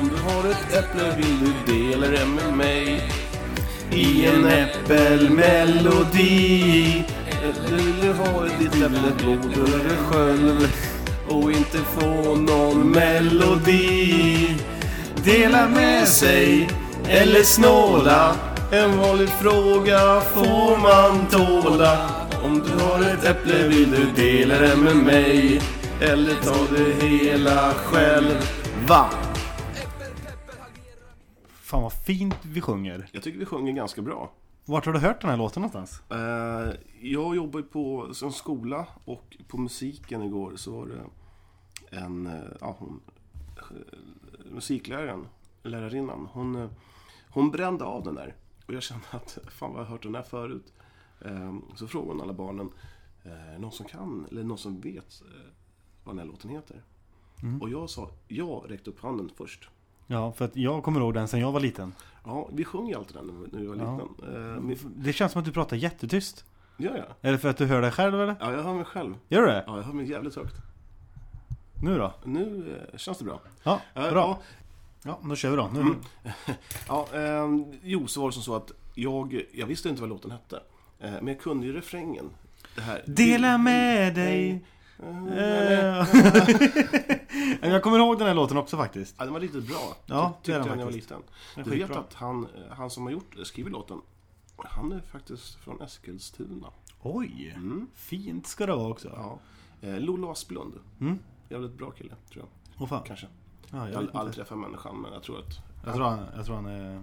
Om du har ett äpple vill du dela det med mig I en äppelmelodi Du vill ha ett ditt äpple borde du det själv Och inte få någon melodi Dela med sig eller snåla En vanlig fråga får man tåla Om du har ett äpple vill du dela det med mig Eller ta det hela själv Va? Fan vad fint vi sjunger. Jag tycker vi sjunger ganska bra. Vart har du hört den här låten någonstans? Eh, jag jobbar ju på som skola och på musiken igår så var det en, eh, ja hon, eh, musikläraren, lärarinnan, hon, eh, hon brände av den där. Och jag kände att, fan vad jag har hört den här förut. Eh, så frågade hon alla barnen, eh, någon som kan, eller någon som vet eh, vad den här låten heter? Och jag sa, jag räckte upp handen först. Ja, för att jag kommer ihåg den sen jag var liten. Ja, vi sjöng ju alltid den när vi- när vi var Ja. liten. Eh, men, Det känns som att du pratar jättetyst. gör jag? Är det för att du hör dig själv eller? Ja, jag hör mig själv. Gör du det? Ja, jag hör mig jävligt högt. Nu då? Nu eh, känns det bra. Ja, Eh, bra. Ja, då kör vi då. Nu. Ja, ja, ehm, jo, så var det som så att jag, jag visste inte vad låten hette. Eh, men jag kunde ju refrängen. Det här. Dela med dig. Eh. jag kommer ihåg den här låten också faktiskt. Ja, den var riktigt bra. Ja, Ty- det tyckte är den jag när jag var faktiskt. liten. Den är Du vet skitbra. att han, eh, han som har gjort, skrivit låten, han är faktiskt från Eskilstuna. Oj! Mm. Fint ska det vara också. Ja. Eh, Lollo Asplund. Mm. Jävligt bra kille, tror jag. Åh fan. Kanske. Ja, Jag jag, har vet aldrig inte. träffat människan, men jag tror att... jag tror han, jag tror han är...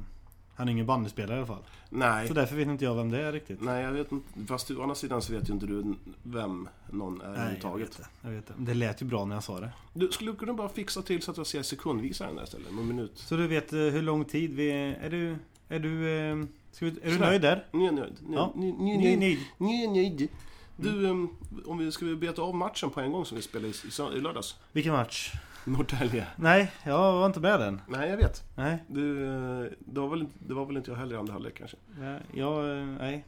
Han är ingen bandyspelare i alla fall. Nej. Så därför vet inte jag vem det är riktigt. Nej, jag vet inte. Fast å andra sidan så vet ju inte du vem någon är jag överhuvudtaget. vet, det. jag vet det. Det lät ju bra när jag sa det. Du, skulle du kunna bara fixa till så att jag ser sekundvisaren där istället? Någon minut? Så du vet eh, hur lång tid vi... Är du... Är du... eh, Ska vi, är du Sådär. nöjd där? Ni är nöjd? Ni Ja. är ni- ni är Nej, nöjd? nej. Ni är nöjd? Du, ehm, om vi ska vi beta av matchen på en gång som vi spelade i, i, sö- i lördags? Vilken match? Norrtälje. Nej, jag var inte med den. Nej, jag vet. Nej, Du, eh, det, var väl, inte- det var väl inte jag heller i andra halvlek kanske. jag- jag... eh, Nej.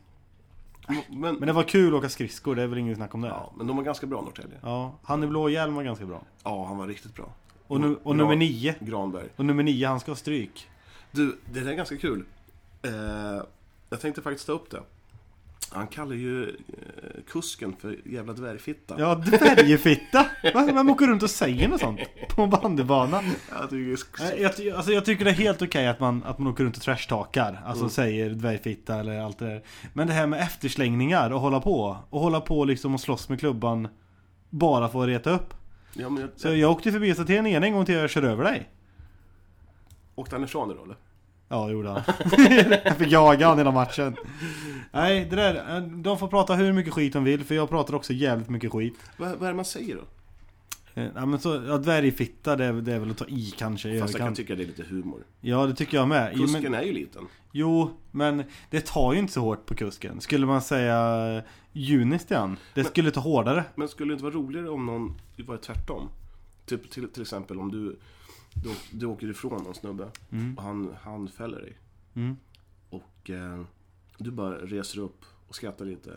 Men, Men det var kul att åka skridskor, det är väl inget snack om det. Ja. ja, men de var ganska bra Norrtälje. Han i blå hjälm var ganska bra. Ja, han var riktigt bra. Och, nu, Ja. och nummer nio. Granberg. Och nummer nio, han ska ha stryk. Du, det där är ganska kul. Eh, jag tänkte faktiskt ta upp det. Han kallar ju eh, kusken för jävla dvärgfitta. Ja, dvärgfitta! Va? Vem åker runt och säger något sånt? På en bandybana? Jag tycker det är sk- Nej, Jag, ty- alltså jag tycker det är helt okej att, man, att man åker runt och trashtalkar. Alltså Mm. säger dvärgfitta eller allt det där. Men det här med efterslängningar och hålla på. Och hålla på liksom och slåss med klubban. Bara för att reta upp. ja, men jag, Så jag åkte förbi Statén igen en gång till jag kör över dig. Åkte han ifrån det då eller? Ja, det gjorde han. jag fick jaga han hela matchen. Nej, det där. eh, De får prata hur mycket skit de vill. För jag pratar också jävligt mycket skit. Vad, vad är det man säger då? Eh, Ja men så, ja, dvärgfitta det är, det är väl att ta i kanske i Fast jag kan överkant. tycka det är lite humor. Ja det tycker jag med. Jo Kusken men, är ju liten. jo men det tar ju inte så hårt på kusken. Skulle man säga eh, juniskt igen. Det skulle ta hårdare. Men skulle det inte vara roligare om någon var tvärtom? Typ till, till exempel om du, du, du åker ifrån någon snubbe Mm. och han, han fäller dig. Mm. Och eh, du bara reser upp och skrattar lite.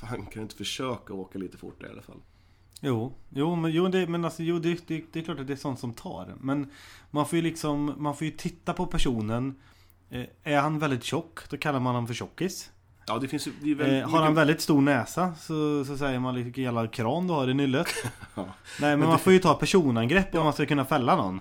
Fan, kan du inte försöka åka lite fortare i alla fall? Jo, jo men, jo, det, men alltså, jo, det, det, det är klart att det är sånt som tar. Men man får ju liksom, man får ju titta på personen. Eh, är han väldigt tjock, då kallar man honom för tjockis. Ja, det finns ju... Det är väl, Eh, har han väldigt stor näsa så, så säger man vilken jävla kran du har i nyllet. Ja. Nej men man får ju ta personangrepp om man ska kunna fälla någon.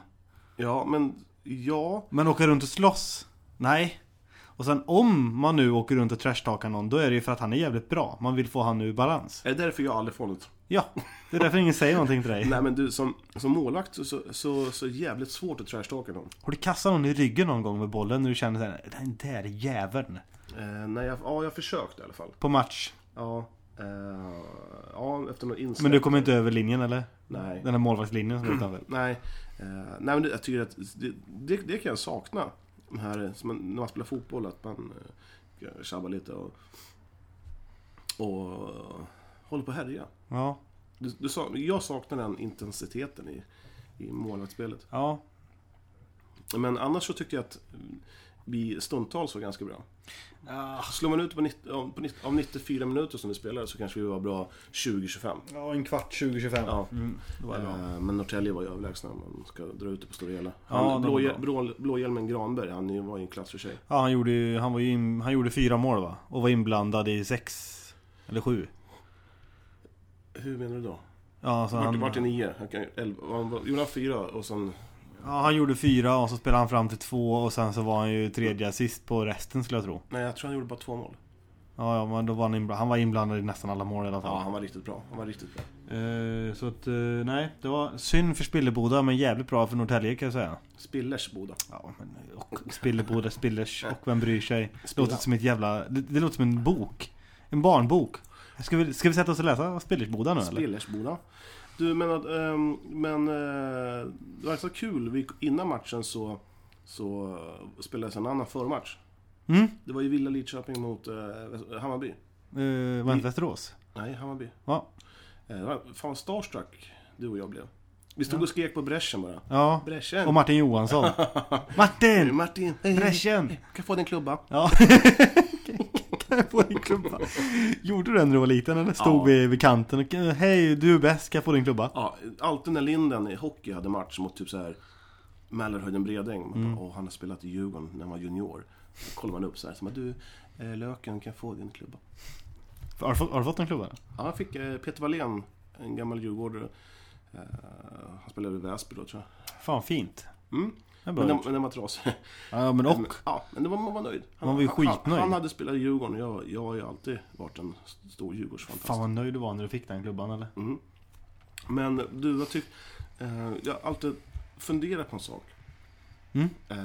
Ja, men... Ja. Men åka runt och slåss? Nej. Och sen om man nu åker runt och trashtalkar någon, då är det ju för att han är jävligt bra. Man vill få han ur balans. Är det därför jag aldrig får något? Ja, det är därför ingen säger någonting till dig. Nej, men du, som, som målvakt så, så, så, så är det jävligt svårt att trashtalka någon. Har du kastat någon i ryggen någon gång med bollen när du känner såhär, den där jäveln. Eh, nej, jag, ja, jag försökte i alla fall. På match. Ja, eh, ja efter något insläpp. Men du kommer inte över linjen eller? Nej. Den där målvaktslinjen som är utanför. Nej, eh, nej men det, jag tycker att det, det, det kan jag sakna. De här, som man, när man spelar fotboll, att man eh, tjabbar lite och, och håller på att härja. Ja. Du, du, sa- jag saknar den intensiteten i, i målvaktsspelet. Ja. Men annars så tycker jag att vi stundtals var ganska bra. Ja, Slår man ut på, 90, om- på 90, av 94 minuter som vi spelade så kanske vi var bra 20-25. ja, en kvart 2025. Ja. Mm, det var bra. Eh, Men Norrtälje var ju överlägsna om man ska dra ut det på stora hela. Ja, Han, de var blå, blå, Blåhjälmen Granberg, han ju- var ju en klass för sig. Ja, han gjorde, ju- han, var ju in, han gjorde fyra mål va? Och var inblandad i sex eller sju. Hur menar du då? Ja, så Vart, han, vart är nio? Han kan, elva, han var- gjorde han fyra och sen... ja, han gjorde fyra och så spelade han fram till två och sen så var han ju tredje assist på resten skulle jag tro. Nej, jag tror han gjorde bara två mål. Ja, ja men då var han, inbla- han var inblandad i nästan alla mål i alla Ja, fall. han var riktigt bra. Han var riktigt bra. Eh, så att, eh, nej, det var synd för Spilleboda men jävligt bra för Norrtälje kan jag säga. Spillers Boda. Ja, men och Spilleboda, Spillers och vem bryr sig? Det Spilla. låter som ett jävla... Det, det låter som en bok. En barnbok. Ska vi, ska vi sätta oss och läsa Spillersboda nu eller? Spillersboda. Du, men, att, ehm, men eh, det var så kul. Vi, innan matchen så, så spelades en annan förmatch. Mm? Det var ju Villa Lidköping mot eh, Väs- Hammarby. Eh, var det inte Västerås? Nej, Hammarby. Ja. Eh, det var, fan vad starstruck du och jag blev. Vi stod och skrek på bräschen bara. Ja. Bräschen! Och Martin Johansson. Hej, Martin! Martin! Hej, hej. Bräschen! Kan jag få din klubba? Ja. Kan jag få din klubba? Gjorde du det när du var liten eller stod Ja. vi vid kanten och eh, Hej, du är bäst, kan jag få din klubba? Ja, alltid när Linden i hockey hade match mot typ så här Mälarhöjden Bredäng. Man bara, Åh, han har spelat i Djurgården när han var junior. Då kollar man upp så här. Så man, du, eh, Löken kan jag få din klubba. Har du, fått- har du fått en klubba? Ja, han fick eh, Peter Wallén, en gammal djurgårdare. Eh, han spelade i Väsby då tror jag. Fan fint. Mm. Det är bra Men den, gjort. men den var trasig. Ja men och. Men, ja, men det var man var nöjd. Man var ju Han, skitnöjd. han hade spelat i Djurgården och jag, jag har ju alltid varit en stor Djurgårdsfantast. Fan vad nöjd du var när du fick den klubban eller? Mm. Men du, jag, tyck, eh, jag har alltid funderat på en sak. Mm. Eh,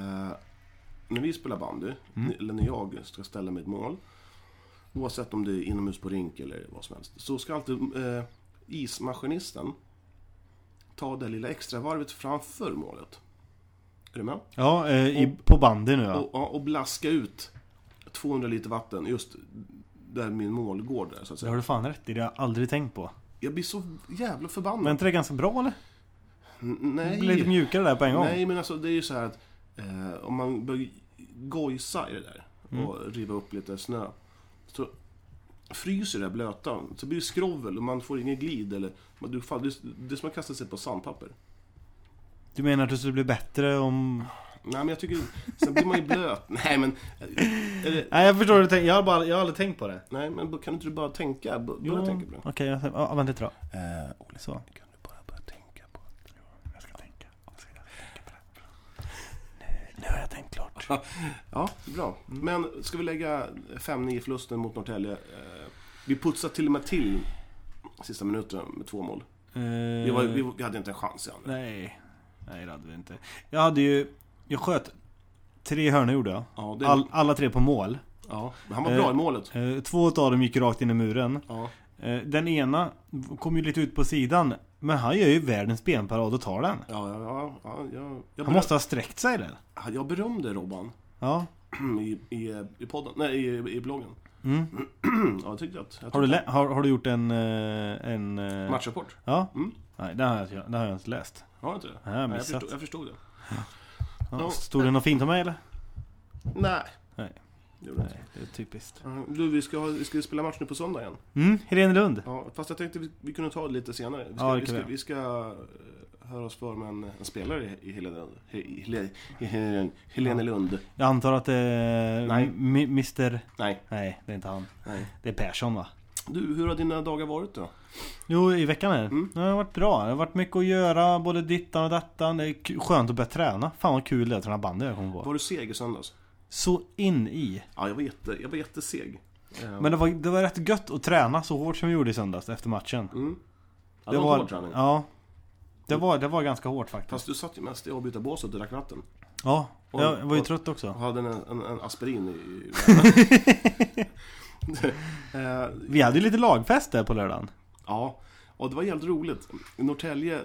när vi spelar bandy, eller när jag ska ställa mig ett mål, oavsett om det är inomhus på rink eller vad som helst, så ska alltid eh, ismaskinisten ta det lilla extra varvet framför målet. Är du med? Ja, eh, i, på bandy nu ja. Och, ja, och blaska ut 200 liter vatten just där min målgård är, så att Det har säga. du fan rätt i, det har jag aldrig tänkt på. Jag blir så jävla förbannad. Men är inte det ganska bra eller? N- Det Nej. blir lite mjukare där på en gång. Nej, men alltså det är ju så här att eh, om man börjar gojsa i det där och riva upp lite snö. Så fryser det här blöta, så blir det skrovel och man får ingen glid. Eller, man, du, fan, det, är- det är som att kasta sig på sandpapper. Du menar att det skulle bli bättre om... Nej, men jag tycker... Sen blir man ju blöt. Nej, men... eh, Eller, Nej jag förstår hur du tänker, jag har, bara, jag har aldrig tänkt på det. nej, men kan inte du bara tänka? Bör- Börja tänka på det. Okej, jag tänker... Ja, vänta lite då. Eh, Så. kan du bara börja tänka på det? Jag ska tänka. Nu, nu har jag tänkt klart. Ja, bra. Men ska vi lägga 5-9 förlusten mot Norrtälje? Eh, vi putsade till och med till sista minuten med två mål. Vi, var, vi, vi hade inte en chans i andra. Eh, Nej. Nej, det hade vi inte. Jag hade ju... Jag sköt tre hörnor gjorde jag. Ja, det, All, alla tre på mål. ja, men han var bra i målet. Eh, Två av dem gick rakt in i muren. Ja. Eh, Den ena kom ju lite ut på sidan. Men han gör ju världens benparad och tar den. Ja, ja, ja, ja, jag, jag, Han beröm, måste ha sträckt sig där. jag berömde Robban Ja. i, i, i podden, nej i, i bloggen. Mm. Ja, jag tyckte att... Jag Har, du tyckte lä- har, har du gjort en... eh, en att- eh, Matchrapport? Ja. Mm. Nej, den har, jag, den har jag inte läst. Har jag inte det? Nej, jag har Nej, jag, missat. förstod, jag förstod det. Ja, Ja. Stod det något fint om mig eller? Nej. Nej. Det gjorde jag inte. Nej, det är typiskt. Mm, Du, vi ska, ha- vi ska spela match nu på söndag igen. Mm, Helene Lund. Ja, fast jag tänkte vi, vi kunde ta det lite senare. Vi ska, Ja, det vi kan ska, vi. vi ska eh, höra oss för med en, en spelare i- i Helene Lund. He- i Hele- i Helene- Helene Lund. Jag antar att eh, det är... Nej. M- Mr... Nej, Nej, det är inte han. nej. Det är Persson va? Du, hur har dina dagar varit då? Jo, i veckan här. Mm. Det har varit bra. Det har varit mycket att göra, både dittan och dattan. Det är k- skönt att börja träna. Fan vad kul det är att träna bandy jag kommer på. Var du seg i söndags? Så in i. Ja, jag var, jätte, jag var jätteseg. Eh, Men det var, det var rätt gött att träna så hårt som vi gjorde i söndags efter matchen. Mm. Ja, Det det var hård träning. Ja. Det var, det var ganska hårt faktiskt. Fast du satt ju mest i avbytarbåset och drack vatten. Ja, Och- jag var ju och- trött också. Och hade en, en, en aspirin i... i Eh, Vi hade ju lite lagfest där på lördagen. ja, och det var jävligt roligt. I Norrtälje,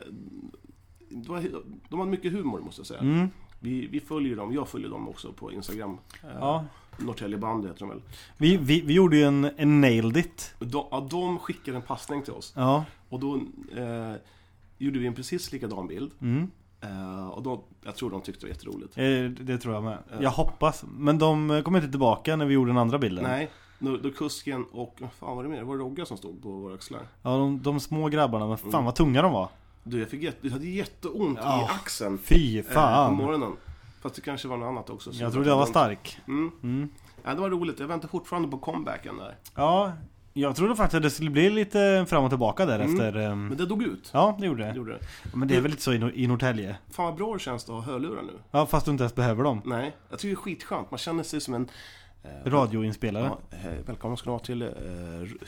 det var, de hade mycket humor måste jag säga. Mm. Vi, vi följer dem, jag följer dem också på Instagram. Ja. Norrtälje Bandy heter de väl. Vi, vi, vi gjorde ju en, en nailed it. De, ja, de skickade en passning till oss. Ja. Och då eh, gjorde vi en precis likadan bild. Mm. Eh, och då, jag tror de tyckte det var jätteroligt. Eh, Det tror jag med. Ja. Jag hoppas. Men de eh, kom inte tillbaka när vi gjorde den andra bilden. Nej, då, då kusken och, vad fan var det mer? Det var Rogga som stod på våra axlar. Ja, de, de små grabbarna. Men fan Mm. vad tunga de var. Du, jag fick jätte, jag hade jätteont Ja. i axeln. Fy eh, På fan. morgonen. Fast det kanske var något annat också. så Jag trodde jag var de- stark. Mm. Mm. Ja, det var roligt. Jag väntar fortfarande på comebacken där. Ja, jag trodde faktiskt att det skulle bli lite fram och tillbaka där Mm. efter. ehm, Men det dog ut. Ja, det gjorde Det det. gjorde det. Men det är väl lite så i, Nor- i Norrtälje? Fan vad bra det känns att ha hörlurar nu. Ja, fast du inte ens behöver dem. Nej, jag tycker det är skitskönt. Man känner sig som en... eh, Radioinspelare. Ja, eh, välkomna ska ni vara till eh,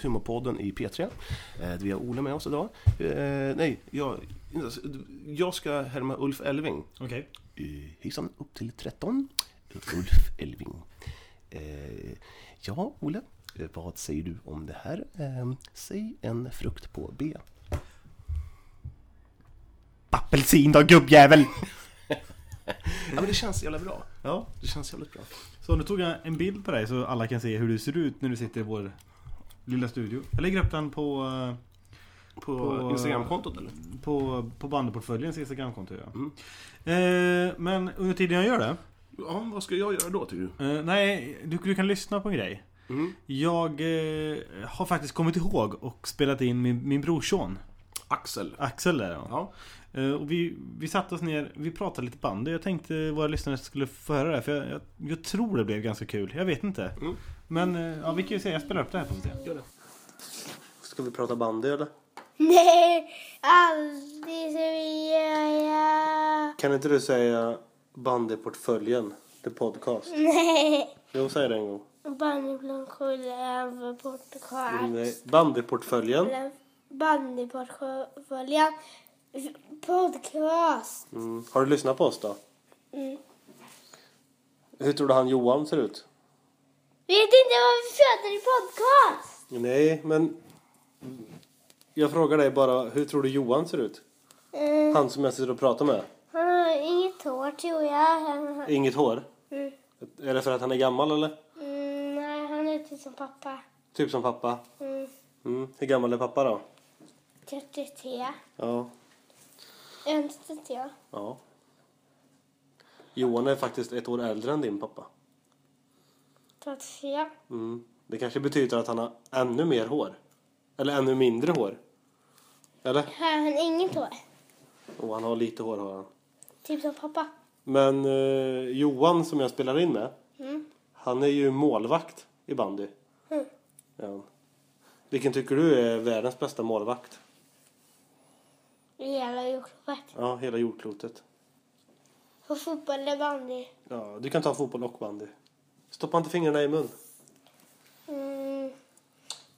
Humorpodden i P3. Eh, vi har Ola med oss idag. Eh, nej, jag, jag ska härma Ulf Elving. Okej. Eh, hejsan, upp till 13. Ulf Elving. Eh, ja, Ola, eh, vad säger du om det här? Eh, säg en frukt på B. Apelsin då gubbjävel! Ja, men det känns jävla bra. Ja, Det känns jävligt bra. så nu tog jag en bild på dig så alla kan se hur du ser ut när du sitter i vår lilla studio. Jag lägger upp den på, eh, På, På- Instagramkontot eller? på, på bandeportföljens Instagramkonto. Ja. Mm. Eh, men under tiden jag gör det. Ja, vad ska jag göra då tycker du? Eh, nej, du, du kan lyssna på en grej. Mm. Jag eh, har faktiskt kommit ihåg och spelat in min, min brorson Axel. Axel där. Ja. Ja. Eh, och vi, vi satte oss ner, vi pratade lite bandy. Jag tänkte våra lyssnare skulle få höra det. här, För jag, jag, jag tror det blev ganska kul. Jag vet inte. Mm. Men eh, ja, vi kan ju säga, jag spelar upp det här på se. Gör det. Ska vi prata bandy eller? Nej, aldrig ska vi göra. Kan inte du säga bandyportföljen, the podcast? Nej. Jo, säg det en gång. Bandyportföljen för portugalen. Nej, Bandyportföljen. Bandyportföljen. Podcast. Mm. Har du lyssnat på oss då? Mm. Hur tror du han Johan ser ut? Vet inte vad vi föder i podcast. Nej, men jag frågar dig bara, hur tror du Johan ser ut? Eh, Han som jag sitter och pratar med. han har inget hår tror jag. Han har, Inget hår. mm. Är det för att han är gammal eller? Mm, nej, han är typ som pappa. Typ som pappa. Mm. Mm. Hur gammal är pappa då? 33. Ja. Önskar jag. ja. Johan är faktiskt ett år äldre än din pappa. 34. Mm. Det kanske betyder att han har ännu mer hår. Eller ännu mindre hår. Eller? Här har han inget hår. Och han har lite hår har han. Typ som pappa. Men eh, Johan som jag spelar in med, Mm. han är ju målvakt i bandy. Mm. Är han. Vilken tycker du är världens bästa målvakt? Hela jordklotet. Ja, hela jordklotet. Och fotboll eller bandy. Ja, du kan ta fotboll och bandy. Stoppa inte fingrarna i mun. Mm.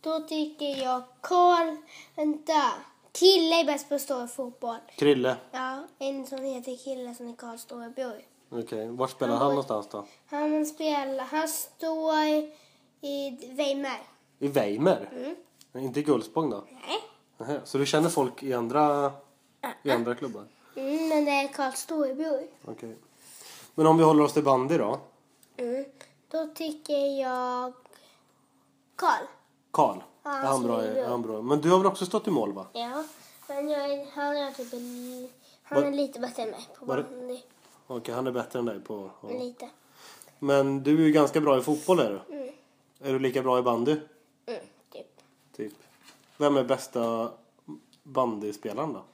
Då tycker jag Karl... Vänta. Kille är bäst på att stå i fotboll. Krille. Ja, en som heter Kille som är Karl Storebro. Okej, var spelar han någonstans då? Han spelar... Han står i, i Weimar. I Weimer? Mm. Nej, Inte i Gullspång då? Nej. Nähä, Så du känner folk i andra, i andra klubbar? Mm, men det är Karl Storebro. Okej. Men om vi håller oss till bandy då? Mm. Då tycker jag... Karl. Karl. Ja, är, han bra, som är är bra. han bra? Men du har väl också stått i mål va? Ja, men jag är, han är typ... li- Han Var- är lite bättre än mig på var det- bandy. Okej, han är bättre än dig på... ja. Lite. Men du är ju ganska bra i fotboll är du? Mm. Är du lika bra i bandy? Mm, typ. Typ. Vem är bästa bandyspelaren då?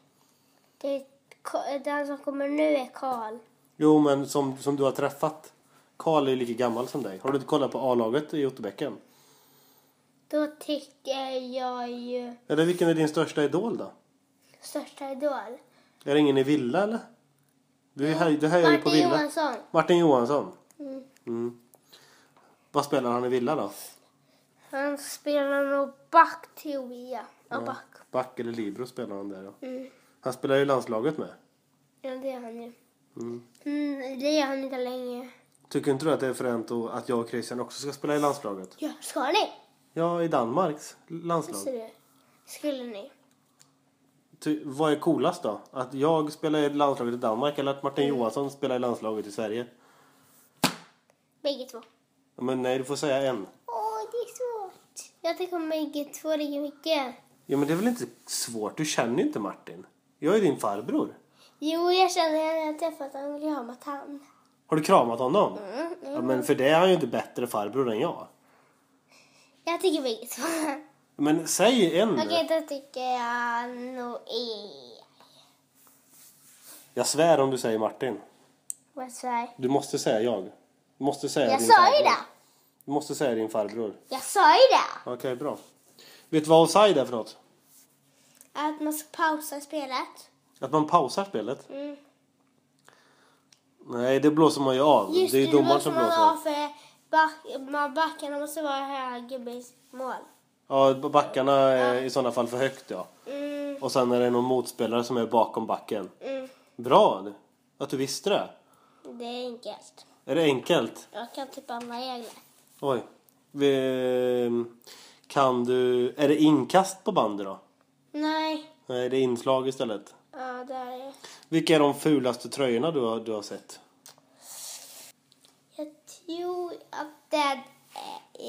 Det är, Ka- den som kommer nu är Karl. Jo, men som, som du har träffat. Karl är ju lika gammal som dig. Har du inte kollat på A-laget i Otterbäcken? Då tycker jag ju Eller vilken är din största idol då? största idol. Är det ingen i Villa eller? Du, är här, du här är ju på Martin Villa. Johansson. Martin Johansson. Mm. Mm. Vad spelar han i Villa då? Han spelar nog back tror jag. Ja, back. Back eller libero spelar han där ja. Mm. Han spelar ju i landslaget med. Ja, det är han ju. Mm. Mm, det gör han inte längre. Tycker inte du att det är fränt då att jag och Christian också ska spela i landslaget? Ja, ska ni? Ja, i Danmarks Så landslag. det skulle ni. Ty, vad är coolast då? Att jag spelar i landslaget i Danmark eller att Mm. Martin Johansson spelar i landslaget i Sverige? Bägge två. Ja, Men nej, du får säga en. Åh, det är svårt. Jag tycker om bägge två lika mycket. Ja, men det är väl inte svårt? Du känner ju inte Martin. Jag är din farbror. Jo, jag känner när jag har träffat honom vill jag ha med han. Har du kramat honom? Mm, Ja, men för det är han ju inte bättre farbror än jag. Jag tycker inget om honom. Men säg en nu. Okej, då tycker jag nog är... Jag svär om du säger Martin. Vad sa jag? Du måste säga jag. Du måste säga Jag din sa ju farbror. det! Du måste säga din farbror. Jag sa ju det! Okej, bra. Vet du vad offside är för något? Att man ska pausa spelet. Att man pausar spelet? Nej, det blåser man ju av. det är ju domaren som man blåser ha av. för back, man- backarna måste vara höger med mål. Ja, backarna är i sådana fall för högt ja. Mm, Och sen är det någon motspelare som är bakom backen. mm, Bra att du visste det. det är enkelt. Är det enkelt? Jag kan typ alla regler. Oj. Vi- Kan du... Är det inkast på bandet då? Nej, Nej, det är inslag istället. ja det är det. Vilka är de fulaste tröjorna du har, du har sett? Jag tror att den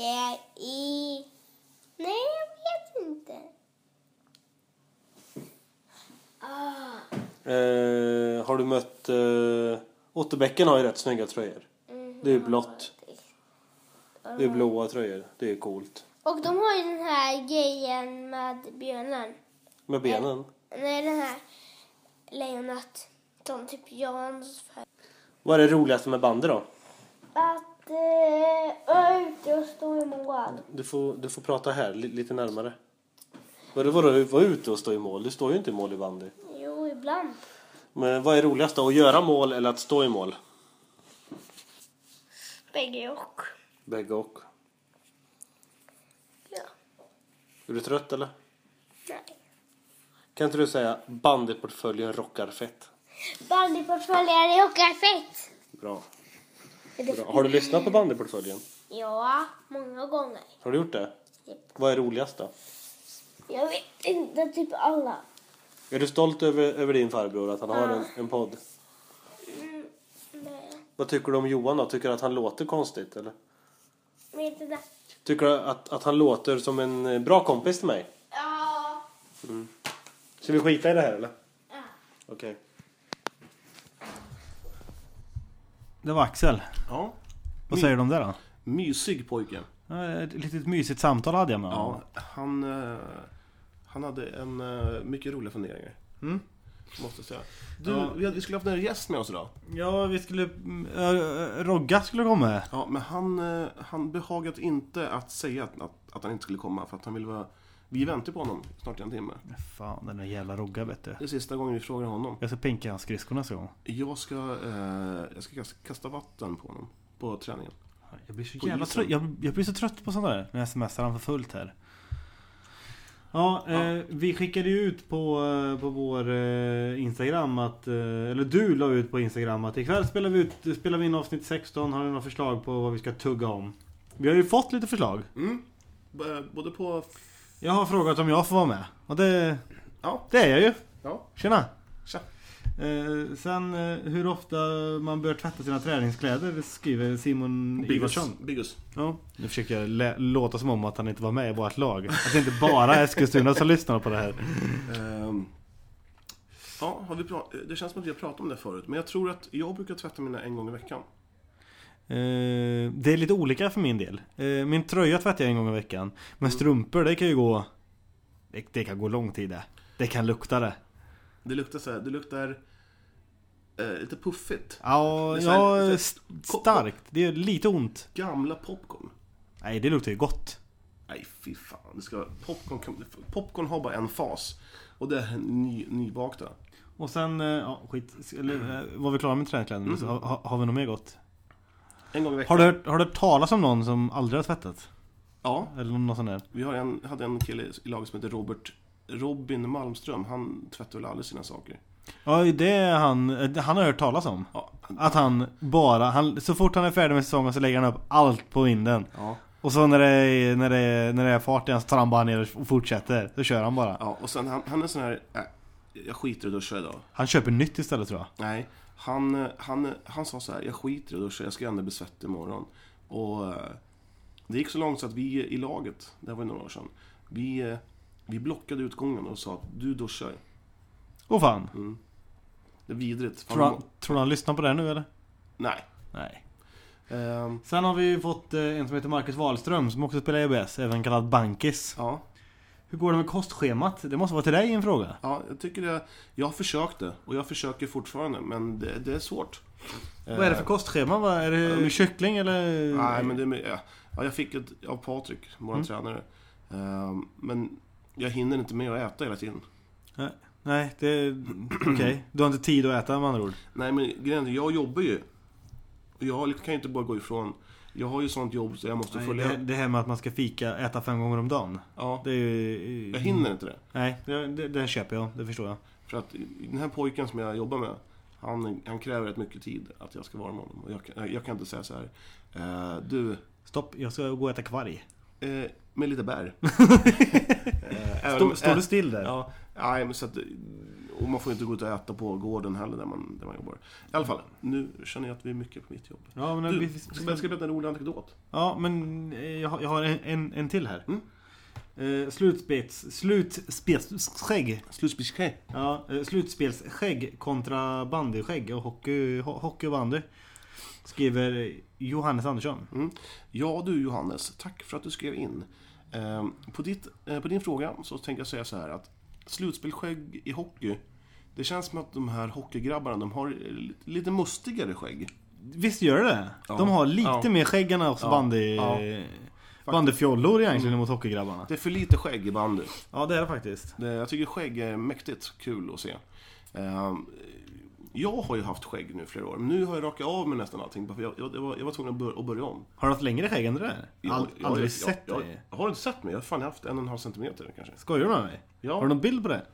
är i... Nej, jag vet inte. Ah, Eh, har du mött... Eh, Otterbäcken har ju rätt snygga tröjor. mm. Det är ju blått. Det är blåa tröjor. Det är coolt. Och de har ju den här grejen med björnen. Med benen. Nej, den här lejonet. Som typ Jans färg. Vad är det roligaste med bandet då? Att eh, vara ute och stå i mål. Du får, du får prata här, li, lite närmare. Vadå, vadå, var ute och stå i mål? Du står ju inte i mål i bandy. Jo, ibland. Men vad är roligast då? Att göra mål eller att stå i mål? Bägge och. Bägge och. Ja. Är du trött eller? Nej. Kan inte du säga bandyportföljen rockar fett? Bandyportföljare och affekt. Bra. Är det- Bra. Har du lyssnat på bandyportföljen? Ja, många gånger. Har du gjort det? Japp. Vad är roligast då? Jag vet inte, typ alla. Är du stolt över, över din farbror, att han har en, en podd? Mm, nej, Vad tycker du om Johan då? Tycker du att han låter konstigt eller? vet inte. Tycker du att, att han låter som en eh, bra kompis till mig? Ja. Ska vi skita i det här eller? Ja. Okej. Det var Axel. Ja. Vad säger du om det då? Mysig pojke. Ja, Ett litet mysigt samtal hade jag med honom. Ja, han, eh, han hade en eh, mycket roliga funderingar. Måste jag säga. Du, Ja. vi, hade- vi skulle haft en gäst med oss idag. Ja, vi skulle... äh, Rogga skulle komma. Ja, men han, eh, han behagat inte att säga att, att, att han inte skulle komma för att han ville vara... Vi väntar på honom snart i en timme. Fan, den där jävla Rogga vet du. Det är sista gången vi frågar honom. Jag ska pinka hans skridskor nästa gång. Jag ska, eh, jag ska kasta- kasta vatten på honom. På träningen. Jag blir så På jävla isen. trött. Jag, jag blir så trött på sånt där. När jag smsar han för fullt här. Ja, eh, vi skickade ju ut på, eh, på vår eh, Instagram att... Eh, eller du la ut på Instagram att ikväll spelar vi, ut, spelar vi in avsnitt 16. Har du några förslag på vad vi ska tugga om? Vi har ju fått lite förslag. Mm. B- Både på... Jag har frågat om jag får vara med. Och det, Ja. det är jag ju. Ja. Tjena! Tja. Eh, sen eh, hur ofta man bör tvätta sina träningskläder skriver Simon Biggus. Ivarsson. Biggus. Ja. Nu försöker jag lä- låta som om att han inte var med i vårt lag. Att det inte bara är Eskilstuna som lyssnar på det här. Ehm, ja, har vi pra- det känns som att vi har pratat om det förut. Men jag tror att jag brukar tvätta mina en gång i veckan. Eh, det är lite olika för min del. Eh, min tröja tvättar jag en gång i veckan. Men strumpor, det kan ju gå... Det, det kan gå lång tid det. Det kan lukta det. Det luktar så här, det luktar eh, lite puffigt. Ja, Det är så här- ja det är så här- st- starkt. Det är lite ont. Gamla popcorn. Nej, det luktar ju gott. Nej, fy fan. Det ska, popcorn, kan- popcorn har bara en fas. Och det är ny, nybakta. Och sen, eh, ja skit. Eller, eh, var vi klara med träningskläderna? Så ha- ha, har vi något mer gott? En gång i veckan. Har du, hört, har du hört talas om någon som aldrig har tvättat? Ja, Eller någon sån där? vi har en, hade en kille i laget som heter Robert Robin Malmström. Han tvättar väl aldrig sina saker. Ja, det är han, eh, han har jag hört talas om. Ja, han- Att han bara, han, så fort han är färdig med säsongen så lägger han upp allt på vinden. ja. Och så när det är, när det är, när det är fart igen så tar han bara ner och fortsätter. Så kör han bara. ja och sen han, han är sån här... Äh, jag skiter i att duscha idag. Han köper nytt istället tror jag. Nej, han, eh, han, eh, han sa så här, jag skiter i att duscha, jag ska ändå bli svettig imorgon. Och eh, det gick så långt så att vi i laget, det här var ju några år sedan, vi, eh, vi blockade utgången och sa att du duschar. Åh fan. Det är vidrigt. Fan, Tror de- han, tror du han lyssnar på det nu eller? Nej. Nej. Ehm, Sen har vi ju fått eh, en som heter Marcus Wahlström som också spelar EBS, även kallad Bankis. ja. Hur går det med kostschemat? Det måste vara till dig en fråga. ja, jag tycker det. Jag försökte och jag försöker fortfarande men det, det är svårt. Vad är det för kostschema? Vad Är det eh, kyckling eller? Nej, men det är med, ja. ja, jag fick ett av Patrik, vår Mm. tränare. Ehm, men jag hinner inte med att äta hela tiden. Nej, det... Okej. Du har inte tid att äta med andra ord. Nej, men grejen är, jag jobbar ju. Och jag kan ju inte bara gå ifrån. Jag har ju sånt jobb så jag måste Nej, följa. det, det här med att man ska fika, äta fem gånger om dagen. Ja, Det är ju... jag hinner inte det. Nej, det, det, den köper jag. Det förstår jag. För att den här pojken som jag jobbar med, han, han kräver rätt mycket tid att jag ska vara med honom. Och jag, kan- jag kan inte säga så här. eh, du, Stopp, jag ska gå och äta kvarg. eh, med lite bär. Eh, även Står om- står du still där? Ja, nej, men så att, och man får inte gå ut och äta på gården heller där man, där man jobbar. I alla fall, nu känner jag att vi är mycket på mitt jobb. Ja, men, Du, vi, ska jag ska berätta en rolig anekdot? ja, men eh, jag, har- jag har en, en, en till här. Mm. Eh, slutspels... Slutspelsskägg. Slutspelsskägg. Ja, eh, slutspelsskägg kontra bandyskägg och hockey, ho, hockey och bandy. Skriver Johannes Andersson. Ja du Johannes, tack för att du skrev in. Eh, På, ditt, eh, på din fråga så tänkte jag säga så här att slutspelsskägg i hockey, det känns som att de här hockeygrabbarna, de har li- lite mustigare skägg. Visst gör det Ja. De har lite Ja. mer skägg än oss Ja. bandy... Ja. Bandyfjollor egentligen mot hockeygrabbarna. Det är för lite skägg i bandy. Ja, det är det faktiskt. Det- Jag tycker skägg är mäktigt kul att se. Eh, Jag har ju haft skägg nu i flera år, men nu har jag rakat av mig nästan allting. bara för Jag, jag, jag, var, jag var tvungen att börja, att börja om. Har du haft längre skägg än det där? Jag, Ald- jag, aldrig jag, sett jag, jag, det. Har du inte sett mig? Jag har fan haft en och en halv centimeter kanske. Skojar du med mig? Ja. Har du någon bild på det?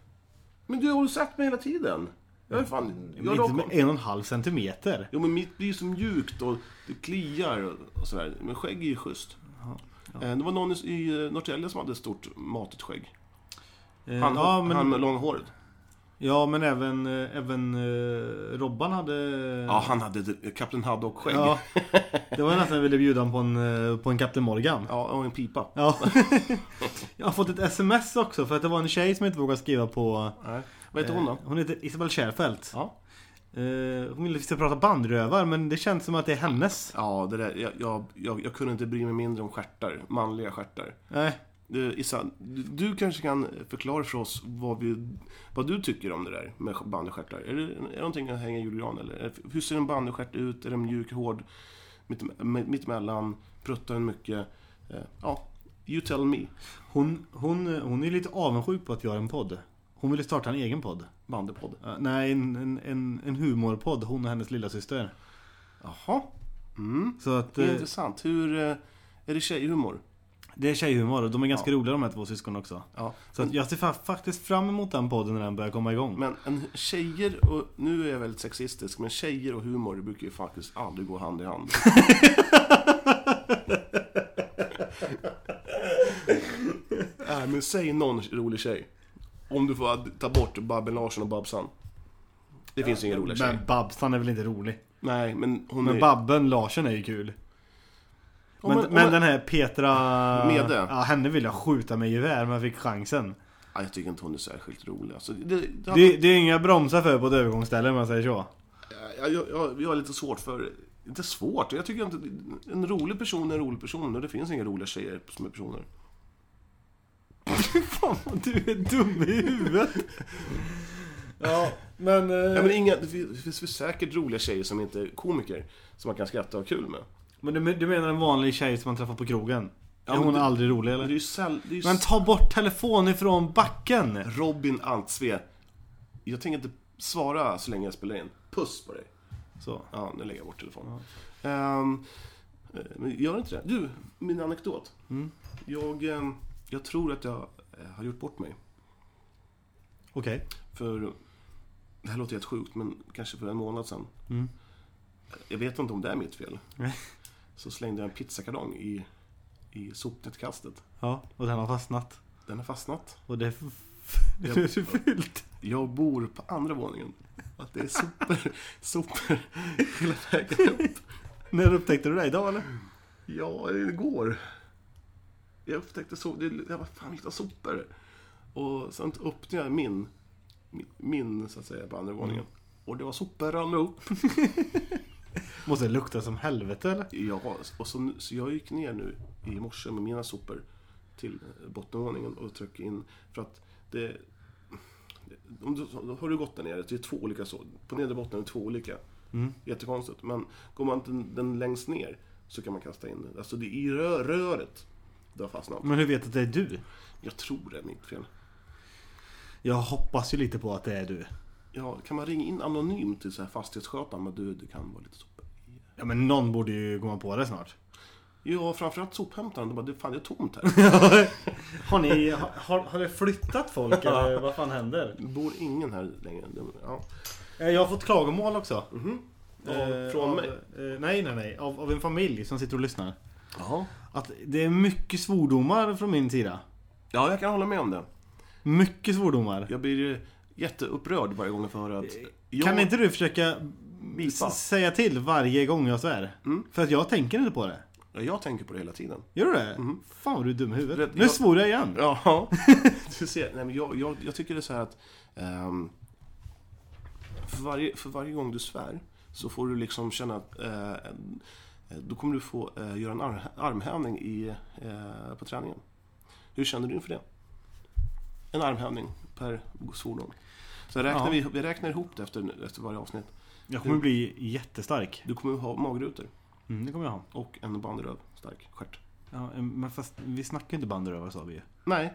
Men du har ju sett mig hela tiden. Jag är fan... Jag Men rakar- Mm, inte med en och en halv centimeter. Jo men mitt blir så mjukt och det kliar och- och sådär. Men skägg är ju schysst. Eh, Det var någon i- i eh, Norrtälje som hade ett stort matigt skägg. Eh, Han, ja, men, han med långhåret. ja, men även, eh, även eh, Robban hade... Ja, han hade ett- eh, Kapten Haddock-skägg. Ja. Ja. Det var nästan jag ville bjuda honom på en, eh, på en Captain Morgan. och en pipa. Ja. Jag har fått ett sms också för att det var en tjej som inte vågade skriva på... Nej. Vad heter hon då? eh, Hon heter Isabel Schärfelt. Ja. Eh, Hon ville att vi ska prata bandrövar men det känns som att det är hennes. Ja, det där, jag, jag, jag, jag kunde inte bry mig mindre om stjärtar. Manliga stjärtar. Nej. Du, Issa, du, du kanske kan förklara för oss vad, vi, vad du tycker om det där med bandystjärtar. Är det, är det någonting att hänga i julgran eller? Är- Hur ser en bandystjärt ut? Är den mjuk, hård? Mitt, mitt, mittemellan? Pruttar den mycket? Eh, Ja, you tell me. Hon, hon, hon är lite avundsjuk på att vi har en podd. Hon ville starta en egen podd. Bandypodd. Eh, Nej, en, en, en, en humorpodd. Hon och hennes lilla syster. Jaha, Så att det är eh, intressant. Hur, eh, är det tjejhumor? det är tjejhumor och de är ganska roliga de här två syskonen också. Ja. Så att jag ser fa- faktiskt fram emot den podden när den börjar komma igång. Men en, tjejer och, nu är jag väldigt sexistisk, men tjejer och humor det brukar ju faktiskt aldrig gå hand i hand. Nej, Äh, men säg någon rolig tjej. Om du får ta bort Babben Larsson och Babsan. Det finns ingen rolig tjej. Men Babsan är väl inte rolig? Nej, men hon Men är... Babben Larsen är ju kul. Ja, Men, men- men, ja, men- den här Petra... Mede. Ja, henne vill jag skjuta med gevär men jag fick chansen. Nej, jag tycker inte hon är särskilt rolig. Alltså, det, det, Det, det är inga bromsar för på ett övergångsställe om man säger så. jag, jag, jag, jag har lite svårt för... Inte svårt, jag tycker inte... En rolig person är en rolig person och det finns inga roliga tjejer som är personer. Fan vad du är dum i huvudet. ja, men... eh, Ja, men men, inga, det finns, det finns väl säkert roliga tjejer som inte är komiker, som man kan skratta och ha kul med. du, du menar en vanlig tjej som man träffar på krogen? Ja, är men hon det- aldrig rolig Men eller? det är ju säll, det är ju Men s- ta bort telefon ifrån backen! Robin Antsve. Jag tänker inte svara så länge jag spelar in. Puss på dig. Så. Ja, nu lägger jag bort telefonen. Ehm, eh, men gör inte det. Du, min anekdot. Mm. Jag, ehm, jag tror att jag eh, har gjort bort mig. Okej. För, det här låter helt sjukt, men kanske för en månad sedan. Mm. Jag vet inte om det är mitt fel. Nej. Så slängde jag en pizzakartong i, i sopnedkastet. Ja, och den har fastnat. Den har fastnat. Och det är, f- det Ja. är fyllt. Jag bor på andra våningen. Att det är super, super hela vägen upp. När upptäckte du det? Idag eller? Ja, det går. Jag upptäckte så, det, jag var fan lite Mm. sopor. Och sen öppnade jag min, min, så att säga, på andra våningen. Och det var sopor rann upp. Måste det lukta som helvete eller? Ja, och så, så jag gick ner nu i morse med mina sopor till eh, bottenvåningen och tryckte in. För att det... Om du, har du gått där nere, det är två olika så. På nedre botten är det två olika. Mm. Jättekonstigt. Men går man den, den längst ner så kan man kasta in den. Alltså det är i rö, röret det har fastnat. Men hur vet att det är du? Jag tror det är mitt fel. Jag hoppas ju lite på att det är du. Ja, kan man ringa in anonymt till så här fastighetsskötaren? Men du, det kan vara lite sopor. Ja men någon borde ju komma på det snart. Ja, framförallt sophämtaren. De bara, det, fan det är tomt här. Har ni... Har, har det flyttat folk eller vad fan händer? Det bor ingen här längre. De- Ja. Eh, Jag har fått klagomål också. Ja, Eh, från av, mig? eh, Nej nej nej. Av, av en familj som sitter och lyssnar. Jaha. Att det är mycket svordomar från min sida. Ja, jag kan hålla med om det. Mycket svordomar. Jag blir eh, jätteupprörd varje gång jag får höra att... Jag, Eh, Kan inte du försöka Bipa. s- säga till varje gång jag svär? För att jag tänker inte på det. Ja, jag tänker på det hela tiden. Gör du det? Fan vad Mm. du är dum i huvudet. Rätt, nu jag- svor jag igen. Ja. du ser, nej, men jag, jag, jag tycker det är så här att... ehm, för, varje, för varje gång du svär så får du liksom känna att... eh, då kommer du få eh, göra en ar- armhävning i, eh, på träningen. Hur känner du inför det? En armhävning per svordom. Så räknar Ja. vi, vi räknar ihop det efter, efter varje avsnitt. Jag kommer bli jättestark. Du kommer ha magrutor Mm, det kommer jag ha. och en bandyröv stark stjärt. Ja, eh, men fast vi snackar ju inte bandyrövare sa vi ju. Nej,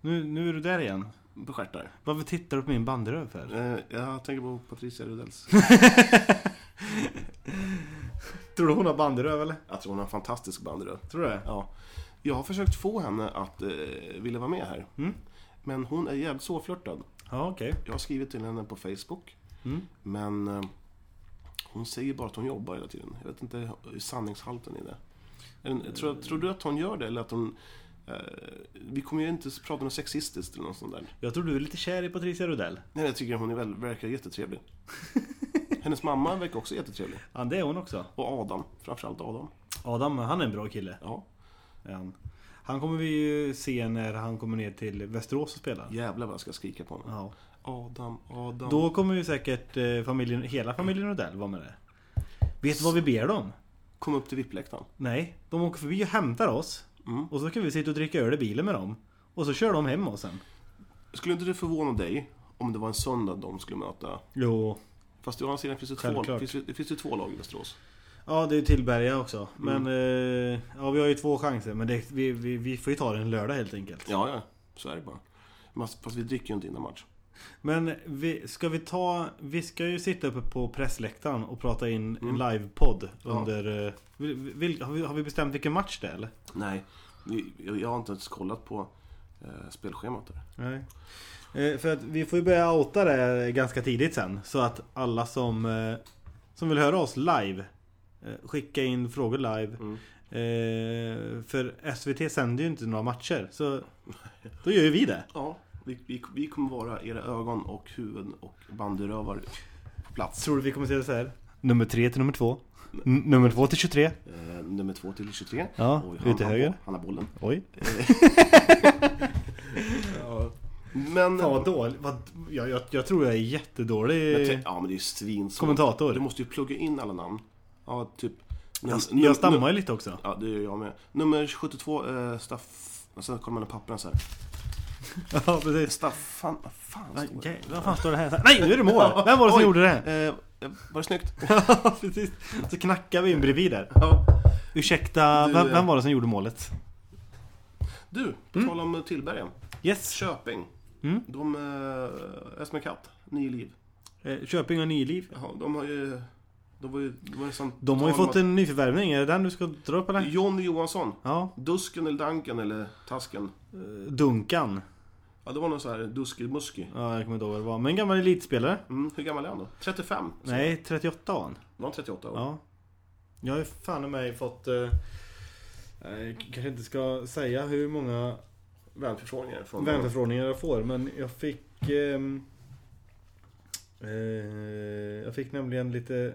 Nu, nu är du där igen. bestjärtar. Varför tittar du på min bandyröv för? Eh, jag tänker på Patricia Rudells. Tror du hon har bandyröv eller? Jag tror hon har en fantastisk bandyröv. Tror du det? Ja. Jag har försökt få henne att eh, vilja vara med här. Mm. Men hon är jävligt sårflörtad. Ja, okej. Jag har skrivit till henne på Facebook. Mm. Men eh, hon säger bara att hon jobbar hela tiden. Jag vet inte hur sanningshalten i det. En- Tror, tror du att hon gör det eller att hon... Eh, vi kommer ju inte prata något sexistiskt eller något sånt där. Jag tror du är lite kär i Patricia Rudell. Nej, jag tycker hon är väl, verkar jättetrevlig. Hennes mamma verkar också jättetrevlig. Ja, det är hon också. Och Adam, framförallt Adam. Adam, han är en bra kille. Ja, Är han. han kommer vi ju se när han kommer ner till Västerås och spelar. jävlar vad jag ska skrika på honom. Ja. Adam, Adam. Då kommer ju säkert eh, familjen, hela familjen Rudell vara med det. Vet du vad vi ber dem? Kom upp till VIP-läktaren. Nej, de åker förbi och hämtar oss. Mm. Och så kan vi sitta och dricka öl i bilen med dem. Och så kör de hem oss sen. Skulle inte det förvåna dig om det var en söndag de skulle möta? Jo. Fast å andra sidan finns det, två, Självklart. finns, det- det finns ju två lag i Västerås. Ja, det är ju Tillberga också. Mm. Men eh, ja, vi har ju två chanser. Men det, vi, vi, vi får ju ta det en lördag helt enkelt. Ja, ja. Så är det bara. Men- Fast vi dricker ju inte innan match. Men vi, ska vi ta... Vi ska ju sitta uppe på pressläktaren och prata in en livepodd Mm. Ja. under... eh, vil- vil, har, vi, har vi bestämt vilken match det är eller? Nej, vi- jag jag har inte ens kollat på eh, spelschemat där. Nej. Eh, För att vi får ju börja outa det ganska tidigt sen. Så att alla som, eh, som vill höra oss live eh, Skicka in frågor live. Mm. Eh, För SVT sänder ju inte några matcher. Så då gör ju vi det. Ja, vi, vi, vi kommer vara era ögon och huvuden och bandyrövar på plats. Tror du vi kommer se det så här? Nummer 3 till nummer 2. nummer 2 till 23. Eh, nummer 2 till 23. Ja, Oj, ut till har- höger. Han har bollen. Oj. Men... Fan vad dålig. Vad, jag, jag, jag tror jag är jättedålig men te- ja, men det är ju svinsvårt. kommentator. Du måste ju plugga in alla namn. Ja, typ... jag, num- jag stammar ju lite också. Ja, det gör jag med. Nummer 72, eh, Staff... Och så kollar man i pappren så här. ja, precis. Staffan... Vad fan står det? Okej, vad Eh, fan står det här? Nej, nu är det mål! Vem var det som Oj. gjorde det? Eh, var det snyggt? Ja, precis. Så knackar vi in bredvid där. Ja. Ursäkta, Du, vem, eh, vem var det som gjorde målet? Du, på tal om Tillberga. Yes. Köping. Mm. De... Eh, är som en katt. Ny liv. Eh, Köping har nyliv. Ja, de har ju... De var ju... De, var ju sånt, De har ju tal om fått en nyförvärvning, är det den du ska dra upp att- eller? Jonny Johansson. Ja. Dusken eller Danken eller Tasken. Eh, Dunkan. Ja, det var någon sån här Duskelmuski. Ja, jag kommer inte ihåg vad det var. Men en gammal elitspelare. Mm, hur gammal är han då? 35? Nej, 38 var han. Var han 38 år? Ja. Jag har ju fan i mig fått... Eh, jag kanske inte ska säga hur många Vänförfrågningar från... vänförfrågningar jag får men jag fick ehm, eh, Jag fick nämligen lite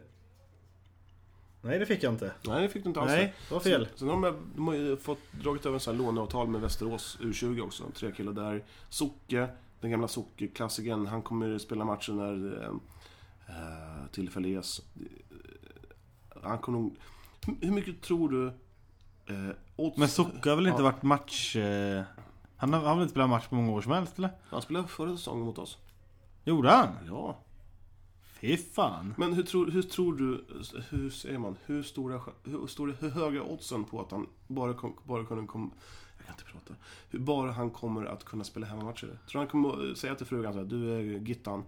Nej det fick jag inte. Nej, det fick du inte alls. Nej, det var fel. Sen, sen har de, de har ju fått, dragit över så här låneavtal med Västerås U20 också. Tre killar där. Socke, den gamla Socke-klassikern, han kommer spela matchen när eh, eh, tillfällig res. Han kommer nog... Hur- Hur mycket tror du... Eh, odds... Men Socka har väl inte Ja. varit match... Eh, han har, han har väl inte spelat match på många år som helst eller? Han spelade förra säsongen mot oss. Gjorde han? Ja. Fy fan. Men hur tror, hur tror du... Hur säger man? Hur stora... ch- Hur, stora, hur höga oddsen på att han bara, kom, bara kunde komma... Jag kan inte prata. Hur bara han kommer att kunna spela hemmamatcher. Tror du han kommer att säga till frugan så här, Du eh, Gittan.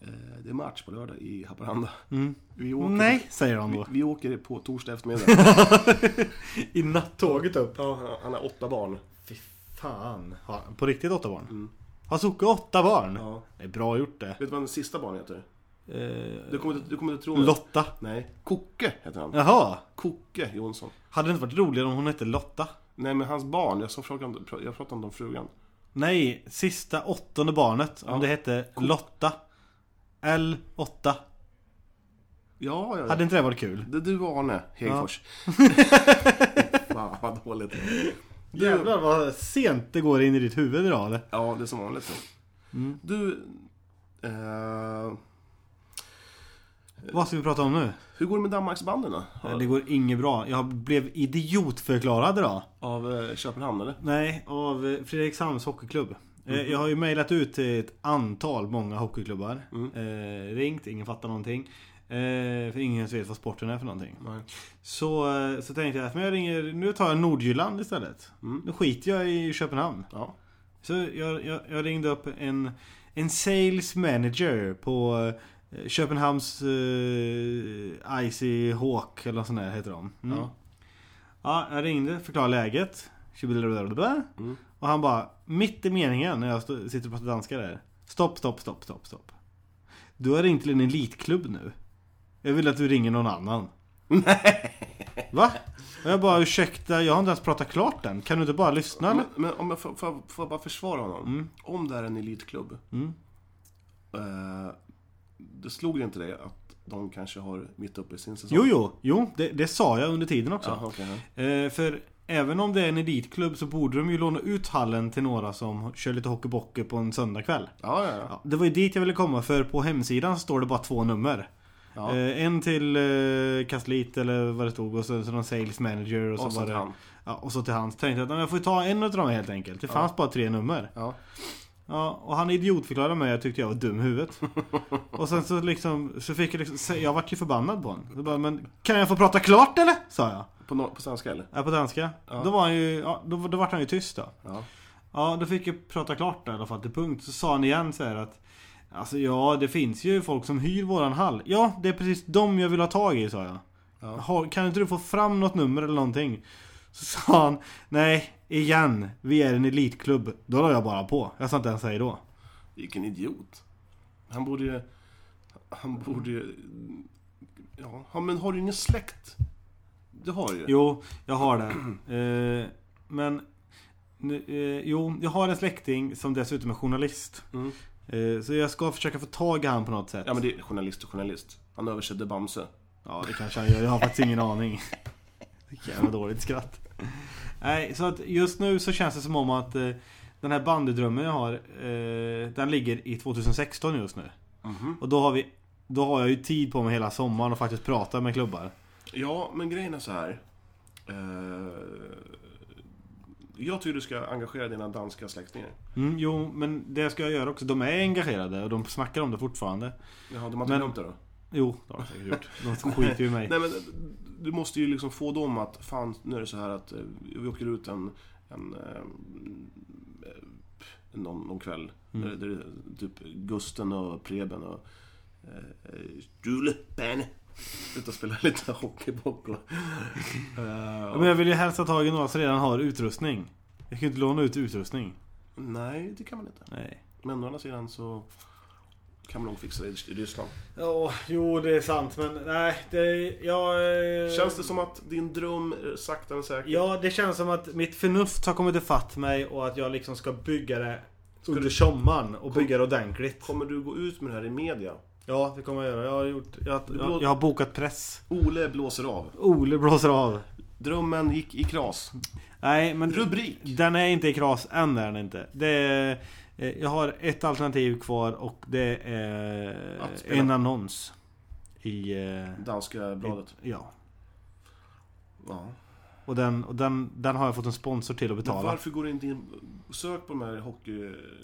Eh, det är match på lördag i Haparanda. Mm. Vi åker, Nej, säger han Vi, då. vi åker på torsdag eftermiddag. I nattåget upp. ja, han har åtta barn. Fy fan. Har han på riktigt åtta barn? Mm. Har Socka åtta barn? Ja. Det är bra gjort det. Vet du vad hans sista barn heter? Eh, Du kommer inte, du kommer inte tro det. Lotta. Nej. Kocke heter han. Jaha. Kocke Jonsson. Hade det inte varit roligare om hon hette Lotta? Nej men hans barn, jag, så frågade om, jag pratade om de frugan. Nej, sista åttonde barnet. Ja. Om det hette Lotta. L8. Ja, ja, ja. Hade inte det varit kul? Det är du och Arne Häggfors. Fan vad dåligt. Du, Jävlar vad sent det går in i ditt huvud idag eller? Ja, det är som vanligt. så. Du, eh, Vad ska vi prata om nu? hur går det med Danmarksbanden då? Det går inget bra. Jag blev idiotförklarad idag. Av eh, Köpenhamn eller? Nej, av eh, Fredrikshamns hockeyklubb. Eh, Jag har ju mejlat ut till ett antal många hockeyklubbar. Eh, ringt, ingen fattar någonting. Eh, för ingen vet vad sporten är för någonting. Nej. Så, eh, så tänkte jag att men jag ringer, nu tar jag Nordjylland istället. Mm. Nu skiter jag i Köpenhamn. Ja. Så jag, jag, jag ringde upp en, en sales manager på eh, Köpenhamns eh, Icy Hawk eller något sånt där heter de. Mm. Ja. Ja. jag ringde, förklarade läget. Tjibidabidabidabida. Mm. Och han bara, mitt i meningen när jag stå, sitter och pratar danska där. Stopp, stopp, stopp, stopp, stopp. Du har ringt till en elitklubb nu. Jag vill att du ringer någon annan. Nej. Va? Och jag bara, ursäkta, jag har inte ens pratat klart än. Kan du inte bara lyssna eller? Men, Mm. men om jag får, får, jag- får jag bara försvara honom? Om det här är en elitklubb. Mm. Eh, det slog det inte dig att de kanske har mitt uppe i sin säsong? Jo, jo, jo det, det sa jag under tiden också. Jaha, okej, ja. Eh, för även om det är en elitklubb så borde de ju låna ut hallen till några som kör lite hockeybockey på en söndagkväll. ja, ja, ja. Ja, det var ju dit jag ville komma för på hemsidan står det bara två nummer. ja. Eh, en till eh, Kasslit eller vad det stod och så, så någon sales manager och så, och så var det, till han. Ja, och så till hans. Tänkte jag att "Nej, jag får ju ta en av dem helt enkelt. Det fanns bara tre nummer. Ja. Ja, och han idiotförklarade mig. Jag tyckte jag var dum i huvudet. och sen så liksom, så fick jag liksom, se- jag vart ju förbannad på honom. Så bara, men kan jag få prata klart eller? Sa jag. På, no- på svenska eller? Ja, på danska. Ja. Då var han ju, ja, då, då vart han ju tyst då. Ja. Ja, då fick jag prata klart där i alla fall till punkt. Så sa han igen så här att Alltså ja, det finns ju folk som hyr våran hall. Ja, det är precis dem jag vill ha tag i, sa jag. Ja. Har, kan inte du få fram något nummer eller någonting? Så sa han, nej, igen, vi är en elitklubb. Då la jag bara på. Jag sa inte ens hej då. Vilken idiot. Han borde ju... Han borde ju... Ja, Ja, men har du ingen släkt? Du har ju. Jo, jag har det. Eh, men... nu, Eh, jo, jag har en släkting som dessutom är journalist. Mm. Eh, så jag ska försöka få tag i han på något sätt. Ja, men det är journalist och journalist. Han översätter Bamse. Ja, det kanske han gör. Jag har faktiskt ingen aning. Vilket Jävla dåligt skratt. Nej, så att just nu så känns det som om att eh, den här bandydrömmen jag har, eh, den ligger i 2016 just nu. Mhm. Och då har, vi, då har jag ju tid på mig hela sommaren och faktiskt prata med klubbar. Ja, men grejen är så här. Eh, jag tycker du ska engagera dina danska släktingar. Mm, jo, men det ska jag göra också. De är engagerade och de snackar om det fortfarande. Jaha, de har inte Men- glömt det då? Jo, det har de säkert gjort. De skiter ju i mig. Nej, men du måste ju liksom få dem att fan, nu är det så här att eh, vi åker ut en... en eh, någon, någon kväll. Mm. Där, där det är typ Gusten och Preben och... eh, eh, Julpen. Ut och spela lite hockeybock och... eh, Ja, Men jag vill ju helst ha tag i några som redan har utrustning. Jag kan ju inte låna ut utrustning. Nej, det kan man inte. Nej. Men å andra sidan så... Kan man nog fixa det i Ryssland. Ja, jo det är sant men nej, det, jag... eh, Känns det som att din dröm eh, sakta men säkert... Ja, det känns som att mitt förnuft har kommit ifatt mig och att jag liksom ska bygga det under sommaren och bygga det ordentligt. Kommer du gå ut med det här i media? Ja, det kommer jag göra. Jag har, gjort, jag, blå- jag, jag har bokat press. Ole blåser av. Ole blåser av. Drömmen gick i kras. Nej, men Rubrik! den är inte i kras än är den inte. Det är, Eh, Jag har ett alternativ kvar och det är Att spela. en annons. I... eh, Danska bladet. i- Ja. Ja. Och, den, och den, den har jag fått en sponsor till att Men betala. varför går du inte in... Sök på de här hockey...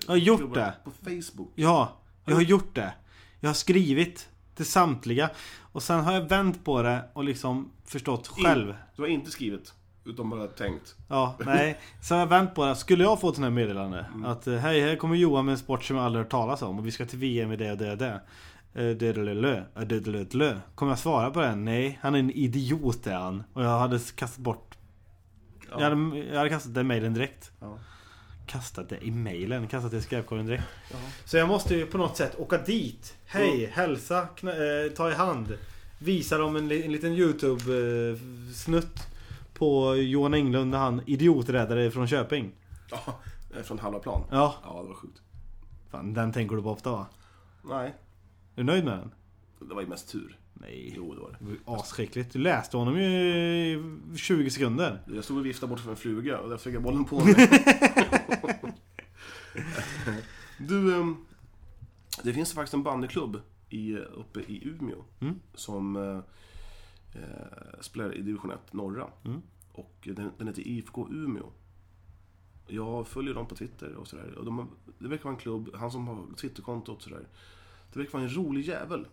Jag har gjort klubbarna det. På Facebook. Ja, jag har gjort det. Jag har skrivit till samtliga. Och sen har jag vänt på det och liksom förstått själv. Du har inte skrivit, utan bara tänkt. Ja, nej. Så har jag vänt på det. Skulle jag få ett sånt här meddelande? Mm. Att eh, hej, här kommer Johan med en sport som jag aldrig hört talas om och vi ska till VM i det och det och det. Eh, det och det och det. Eh, det och det och det. Kommer jag svara på den? Nej, han är en idiot är han. Och jag hade kastat bort... Ja. Jag, hade, jag hade kastat den mejlen direkt. Ja. Kastat det i mejlen, kastat det i skräpkorgen direkt. Så jag måste ju på något sätt åka dit. Hej, hälsa, knä, eh, ta i hand. Visa dem en, li- en liten eh, YouTube-snutt på Johan Englund när han idioträddare från Köping. Ja, från halva plan. Ja, Ja, det var sjukt. fan den tänker du på ofta va? Nej, Är du nöjd med den? det var ju mest tur. Nej. Jo, det var det. Det var ju Asskickligt. Du läste honom ju i 20 sekunder. Jag stod och viftade bort för en fluga och där fick jag bollen på mig. du, ehm, det finns faktiskt en bandyklubb i, uppe i Umeå Mm. som eh, eh, spelar i division 1 norra. Mm. Och den, den heter IFK Umeå. Jag följer dem på Twitter och sådär. Och de, har- det verkar vara en klubb, han som har Twitterkontot och sådär. Det verkar vara en rolig jävel.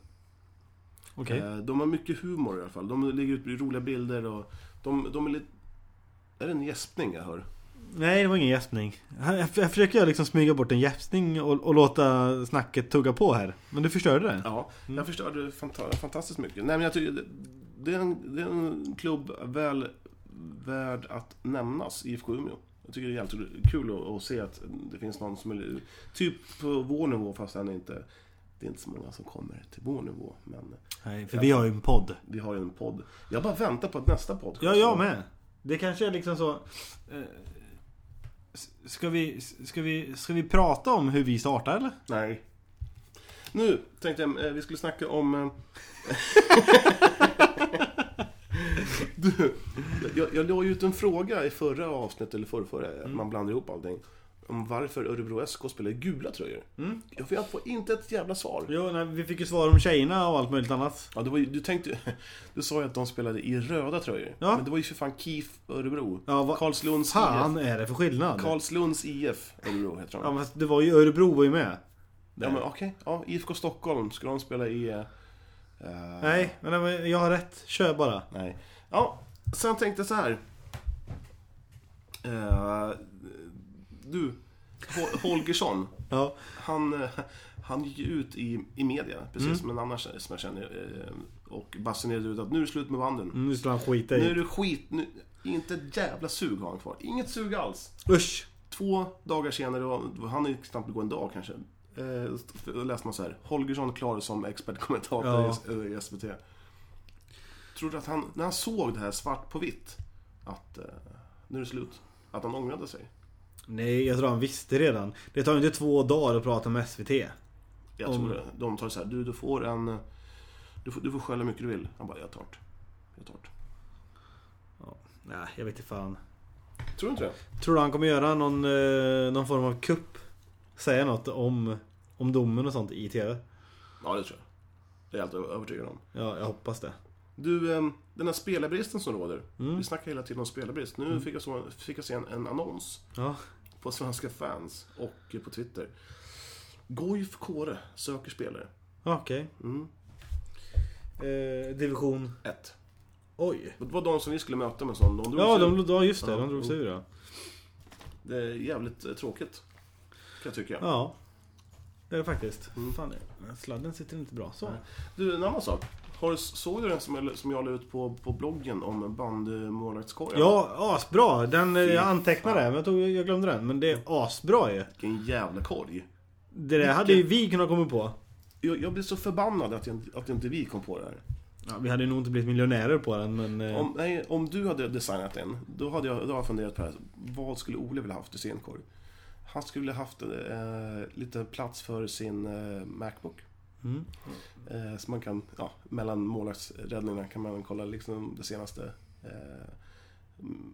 Okej. Eh, De har mycket humor i alla fall. De lägger ut roliga bilder och de, de är lite... Är det en gäspning jag hör? Nej, det var ingen gäspning. Jag, jag försöker jag liksom smyga bort en gäspning och, och låta snacket tugga på här. Men du förstörde det. Ja, jag förstörde fanta- fantastiskt mycket. Nej, men jag tycker det, det, är en, det är en klubb väl värd att nämnas, IFK Umeå. Jag tycker det är jävligt kul att, att se att det finns någon som är typ på vår nivå fast han är inte... Det är inte så många som kommer till vår nivå, men Nej, för vi har ju en podd. vi har ju en podd. Jag bara väntar på att nästa podd Ja, jag med. Det kanske är liksom så... eh, s- Ska vi, ska, vi, ska vi prata om hur vi startar eller? Nej. Nu tänkte jag eh, vi skulle snacka om... eh, du, jag, jag la ju ut en fråga i förra avsnittet, eller förrförra, Mm. att man blandar ihop allting. Om varför Örebro SK spelar i gula tröjor. Mm. Jag får, jag får inte ett jävla svar. Jo, nej, vi fick ju svar om tjejerna och allt möjligt annat. Ja, det var ju, du, tänkte, du sa ju att de spelade i röda tröjor. Ja. Men det var ju för fan KIF Örebro. Ja, vad Karlslunds fan IF. är det för skillnad? Karlslunds IF Örebro heter de. Ja, fast det var ju Örebro var ju med. Ja, men okej. Ja, IFK Stockholm ska de spela i... eh, eh, Nej, men det var- jag har rätt. Kör bara. Nej. Ja, sen tänkte jag så här. Eh, du, Ho- Holgersson. Ja. Han, eh, han gick ju ut i, i media, precis men annars som jag känner. eh, Och basunerade ut att nu är det slut med banden. Nu skulle han skita Nu är i. det skit. Nu, inte ett jävla sug har han kvar. Inget sug alls. Usch! Två dagar senare, och han är knappt gå en dag kanske. Eh, då läste man så här. Holgersson klar som expertkommentator Ja. i S- eh, i SVT. Tror du att han, när han såg det här svart på vitt, att eh, nu är det slut? Att han ångrade sig? Nej, jag tror han visste redan. Det tar ju inte två dagar att prata med SVT. Jag Om- tror det. De tar så här, du, du får en... Du får, du får skälla hur mycket du vill. Han bara, jag tar det. Jag tar det. Nej, jag vet inte fan. Tror du inte det? Tror du han kommer göra någon, eh, någon form av kupp? Säga något om, om domen och sånt i TV? Ja, det tror jag. Det är jag helt övertygad om. Ja, jag hoppas det. Du, ehm, den här spelarbristen som råder. Mm. Vi snackar hela tiden om spelarbrist. Nu fick, jag så, fick jag se en, en annons. Ja. på svenska fans och på Twitter. Goif Kåre söker spelare. Okej. Mm. Eh, division... Ett. Oj. Det var de som vi skulle möta med sån. De drog Ja, sig ur. de, ja, just det. Ja, De drog sig jo. ur ja. Det är jävligt eh, tråkigt. Kan jag tycka. Ja. Det är det faktiskt. Mm. Fan, det- sladden sitter inte bra. Så. Nej. Du, en annan sak. Har du, såg du den som jag, som jag la ut på, på bloggen om bandmålvaktskorgen? Ja, asbra! Den, eh, Fy jag antecknade det, men jag, tog, jag glömde den. Men det är asbra ju. Vilken jävla korg. Det där hade ju vi kunnat komma på. Jag, jag blir så förbannad att, jag, att inte vi kom på det här. Ja, vi hade ju nog inte blivit miljonärer på den, men... eh, Om, nej, om du hade designat en, då hade jag, då hade jag funderat på det här. Vad skulle Ole vilja haft i sin korg? Han skulle haft eh, lite plats för sin eh, Macbook. Mm. Eh, så man kan, ja, mellan målvaktsräddningarna kan man kolla liksom det senaste eh,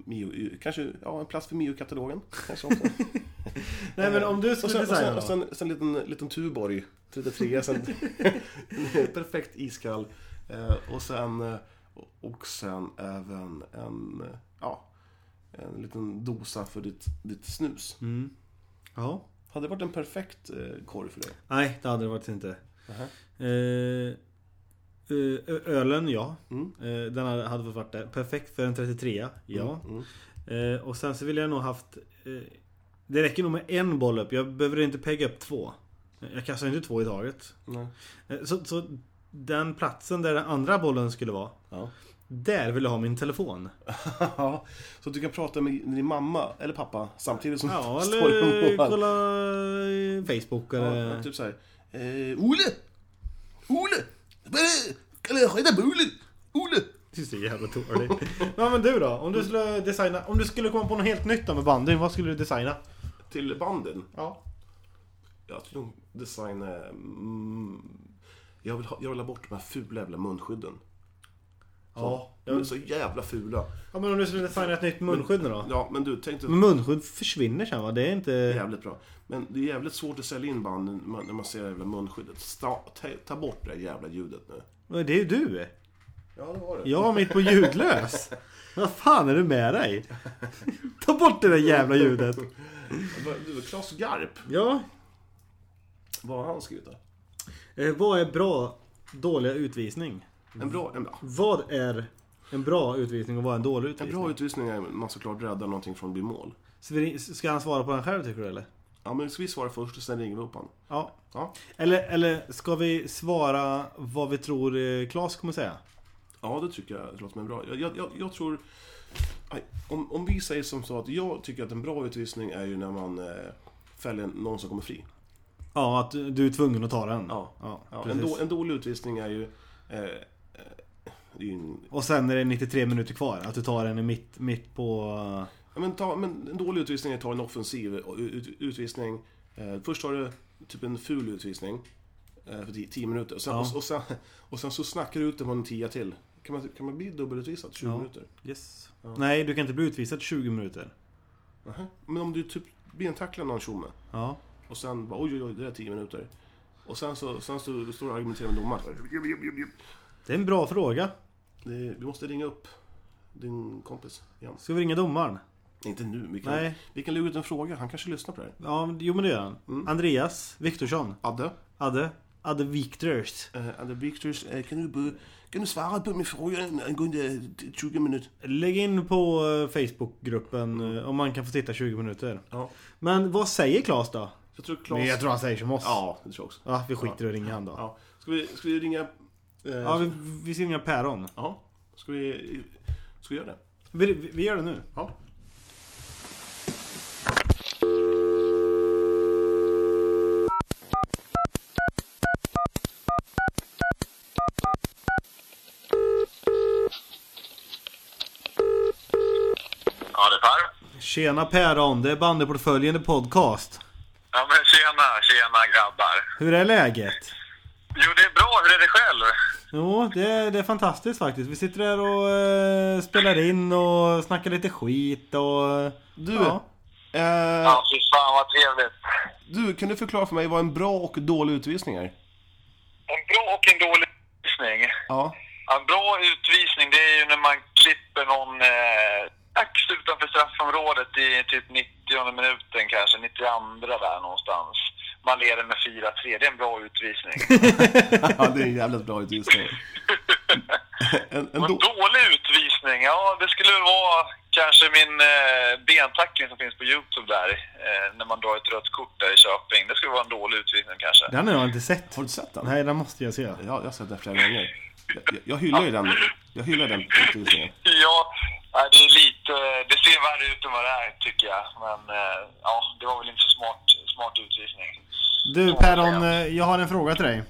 Mio, kanske ja, en plats för Mio-katalogen. Kanske också. Nej men om du och skulle sen, och sen, designa och då? sen, sen en liten, liten Tuborg, 33 sen, Perfekt iskall. Eh, och sen eh, Och sen även en eh, Ja En liten dosa för ditt, ditt snus. Mm. Ja. Hade det varit en perfekt eh, korg för dig? Mm, Nej, det hade det faktiskt inte. Eh, eh, ö- ölen, ja. Mm. Eh, den hade hade varit där. Perfekt för en 33 ja. Mm. Eh, och sen så vill jag nog haft... Eh, det räcker nog med en boll upp. Jag behöver inte pegga upp två. Jag kastar inte två i taget. Nej. Eh, så, så den platsen där den andra bollen skulle vara. Ja. Där vill jag ha min telefon. ja. Så att du kan prata med din mamma eller pappa samtidigt som Ja, du eller och målar. kolla eh, Facebook eller... Ja, typ såhär. Eh, Ole! Ole! Eh, Kan jag skita på Ole? Ole! Det är så jävla dåligt. ja, men du då? Om du skulle designa... Om du skulle komma på något helt nytt då med bandyn, vad skulle du designa? Till banden. Ja. Jag tror nog design är... Mm, jag, vill ha, jag vill ha bort de här fula jävla munskydden. Ja. De är så jävla fula. Ja men om du skulle designa ett nytt munskydd nu då? Ja, men du, tänk dig... Men munskydd försvinner sen va? Det är inte... Jävligt bra. Men det är jävligt svårt att sälja in banden när man- när man ser det jävla munskyddet. Sta, ta, ta bort det där jävla ljudet nu. Men Det är ju du! Ja, det var det. Jag var mitt på ljudlös! Vad fan är du med dig? Ta bort det där jävla ljudet! Det var- Du, Claes Garp. Ja. Vad har han skrivit då? Eh, vad är bra, dåliga utvisning? En bra, en, ja, Vad är en bra utvisning och vad är en dålig en utvisning? bra utvisning är att man såklart räddar någonting från att bli mål. Ska vi- Ska han svara på den själv tycker du eller? Ja, men ska vi svara först och sen ringer vi upp honom? Ja. Ja. Eller, eller ska vi svara vad vi tror eh, Claes kommer säga? Ja, det tycker jag låter mig bra. Jag, jag, jag, jag tror... Aj, Om, om vi säger som så att jag tycker att en bra utvisning är ju när man eh, fäller någon som kommer fri. Ja, att du du är tvungen att ta den. Ja. ja, en, precis. då, en dålig utvisning är ju... Eh, eh, det är ju en, Och sen är det 93 minuter kvar. Att du tar den i mitt, mitt på... eh, ja, men, ta, men en dålig utvisning är att ta en offensiv ut, utvisning. Eh, först tar du typ en ful utvisning eh, för 10 minuter och sen, Ja. och, och, sen, och sen så snackar du ut den på en tia till. Kan man, kan man bli dubbelutvisad 20 Ja. minuter? Yes. Nej, du kan inte bli utvisad 20 minuter. Nähä. Men om du typ bentacklar någon tjomme? Ja. Och sen bara oj, oj, oj, det är tio minuter. Och sen så, sen så står du och argumenterar med domaren. Det är en bra fråga. Det, vi måste ringa upp din kompis igen. Ska vi ringa domaren? Inte nu, vi kan, Nej. vi kan lura ut en fråga. Han kanske lyssnar på det här. Ja, men- jo men det gör han. Mm. Andreas Viktorsson. Adde, Adde. Adde Viktors. eh, Adde Victors, eh, kan, du, be- kan du svara på min fråga angående 20 minuter? Lägg in på eh, Facebookgruppen Mm. eh, om man kan få titta 20 minuter. Ja. Men vad säger Claes då? Jag tror Claes... Men jag tror han säger som oss. Ja, det tror jag också. Ja, vi skiter i att ringa han då. Ja. Ska, vi, ska vi ringa... Eh, Ja, vi, vi ser inga päron. ja. Ska vi... Ska vi göra det? Vi, vi vi gör det nu. Ja. Ja, det är Per. Tjena päron, det är Bandyportföljen i podcast. Ja, men tjena, tjena grabbar. Hur är läget? Jo, det är bra. Hur är det själv? Jo, det är, det är fantastiskt faktiskt. Vi sitter här och eh, spelar in och snackar lite skit och... Du, Ja. eh, Ja, fy fan vad trevligt. du, kan du förklara för mig vad en bra och dålig utvisning är? En bra och en dålig utvisning. Ja. Ja, En bra utvisning, det är ju när man klipper någon eh, ax utanför straffområdet i typ 90 minuten kanske, 92 där någonstans. Man leder med 4-3. Det är en bra utvisning. Ja, det är en jävligt bra utvisning. En, en Och då, en dålig utvisning, ja det skulle väl vara kanske min eh, bentackling som finns på Youtube där. Eh, när man drar ett rött kort där i Köping. Det skulle vara en dålig utvisning kanske. Den har jag inte sett. har du sett den? Nej, den måste jag se. Ja, jag har sett den flera gånger. Jag, jag- jag hyllar ju den. Jag hyllar den utvisningen. Ja, nej, det är lite... Det ser värre ut än vad det är tycker jag. Men eh, ja, det var väl inte så smart, smart utvisning. Du päron, eh, jag har en fråga till dig.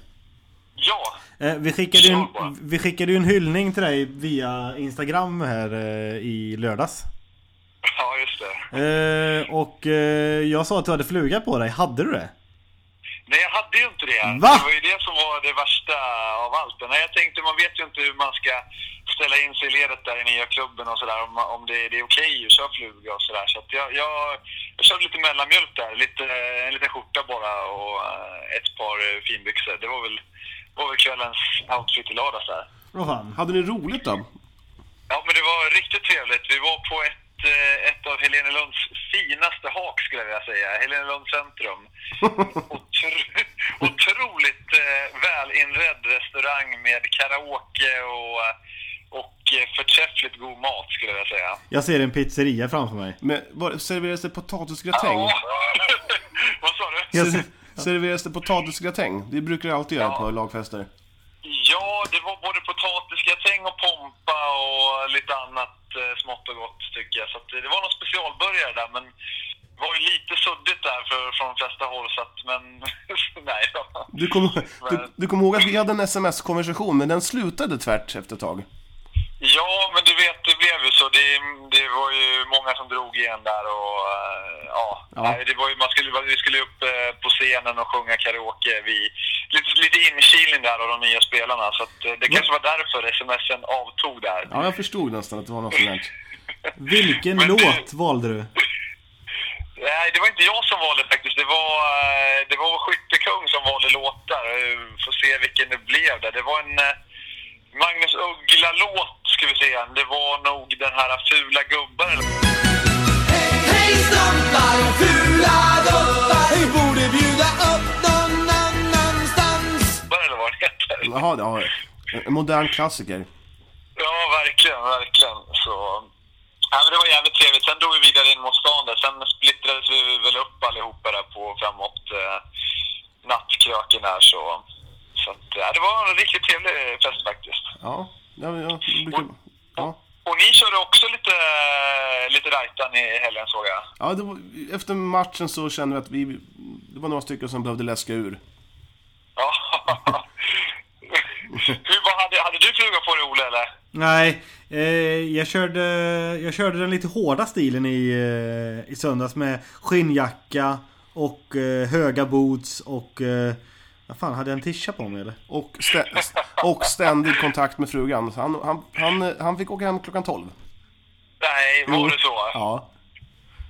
Ja, Eh, Vi skickade, ju en, vi skickade ju en hyllning till dig via Instagram här eh, i lördags. ja just det. Eh, och eh, jag sa att du hade fluga på dig. Hade du det? Nej, jag hade ju inte det. Va? Det var ju det som var det värsta av allt. Nej, jag tänkte, man vet ju inte hur man ska ställa in sig i ledet där i nya klubben och sådär. Om, om det, det är okej att köra fluga och sådär. Så att jag, jag, jag körde lite mellanmjölk där. Lite, en liten skjorta bara och eh, ett par eh, finbyxor. Det var väl, var väl kvällens outfit i lördags där. Vad fan. Hade ni roligt då? Ja, men det var riktigt trevligt. Vi var på ett, eh, ett av Helene Lunds finaste hak, skulle jag vilja säga. Helene Lunds centrum. Otro, otroligt eh, välinredd restaurang med karaoke och, och eh, förträffligt god mat, skulle jag vilja säga. Jag ser en pizzeria framför mig. Men var, serverades det potatisgratäng? Ja. Vad sa du? Jag ser, Serverades det potatisgratäng? Det brukar jag alltid göra på lagfester. Ja, det var både potatisgratäng och pompa och lite annat eh, smått och gott tycker jag. Så att, eh, det var någon specialburgare där, men det var ju lite suddigt där för, från de flesta håll. Så att, men nej då. Du kommer du, du kom ihåg att vi hade en sms-konversation, men den slutade tvärt efter ett tag. Ja, men du vet, det blev ju så. Det, det var ju många som drog igen där och eh, ja. Ja. Nej, det var ju, man skulle, vi skulle upp eh, på scenen och sjunga karaoke. Vi, lite, lite inkilning där av de nya spelarna. Så att, eh, det kanske var därför smsen avtog där. Ja, jag förstod nästan att det var något sånt där. vilken Men- låt valde du? Nej, det var inte jag som valde faktiskt. Det var, eh, det var vår skyttekung som valde låtar. Eh, Får se vilken det blev där. Det var en eh, Magnus Uggla-låt, ska vi se. Det var nog den här Fula gubbar. eller- Hej snubblar och fula gubbar, vi borde bjuda upp någon annanstans. gubbar eller vad den heter. Jaha, ja. En modern klassiker. Ja, verkligen, verkligen. Så... Ja, men det var jävligt trevligt. Sen drog vi vidare in mot stan där. Sen splittrades vi väl upp allihopa där på framåt eh, nattkröken här så. Så att, ja, det var en riktigt trevlig fest faktiskt. Ja, ja, ja, jag brukar... ja. Och ni körde också lite, lite rajtan i helgen såg jag. ja det var, efter matchen så kände vi att vi... Det var några stycken som behövde läska ur. Ja. Hur var, hade, hade du fluga på dig Ola eller? Nej, eh, jag, körde, jag körde den lite hårda stilen i, eh, i söndags med skinnjacka och eh, höga boots och... Eh, vad fan, hade jag en tisha på mig eller? Och, stä, och ständig kontakt med frugan. Så han, han, han, han fick åka hem klockan 12. Nej, var det så? Ja.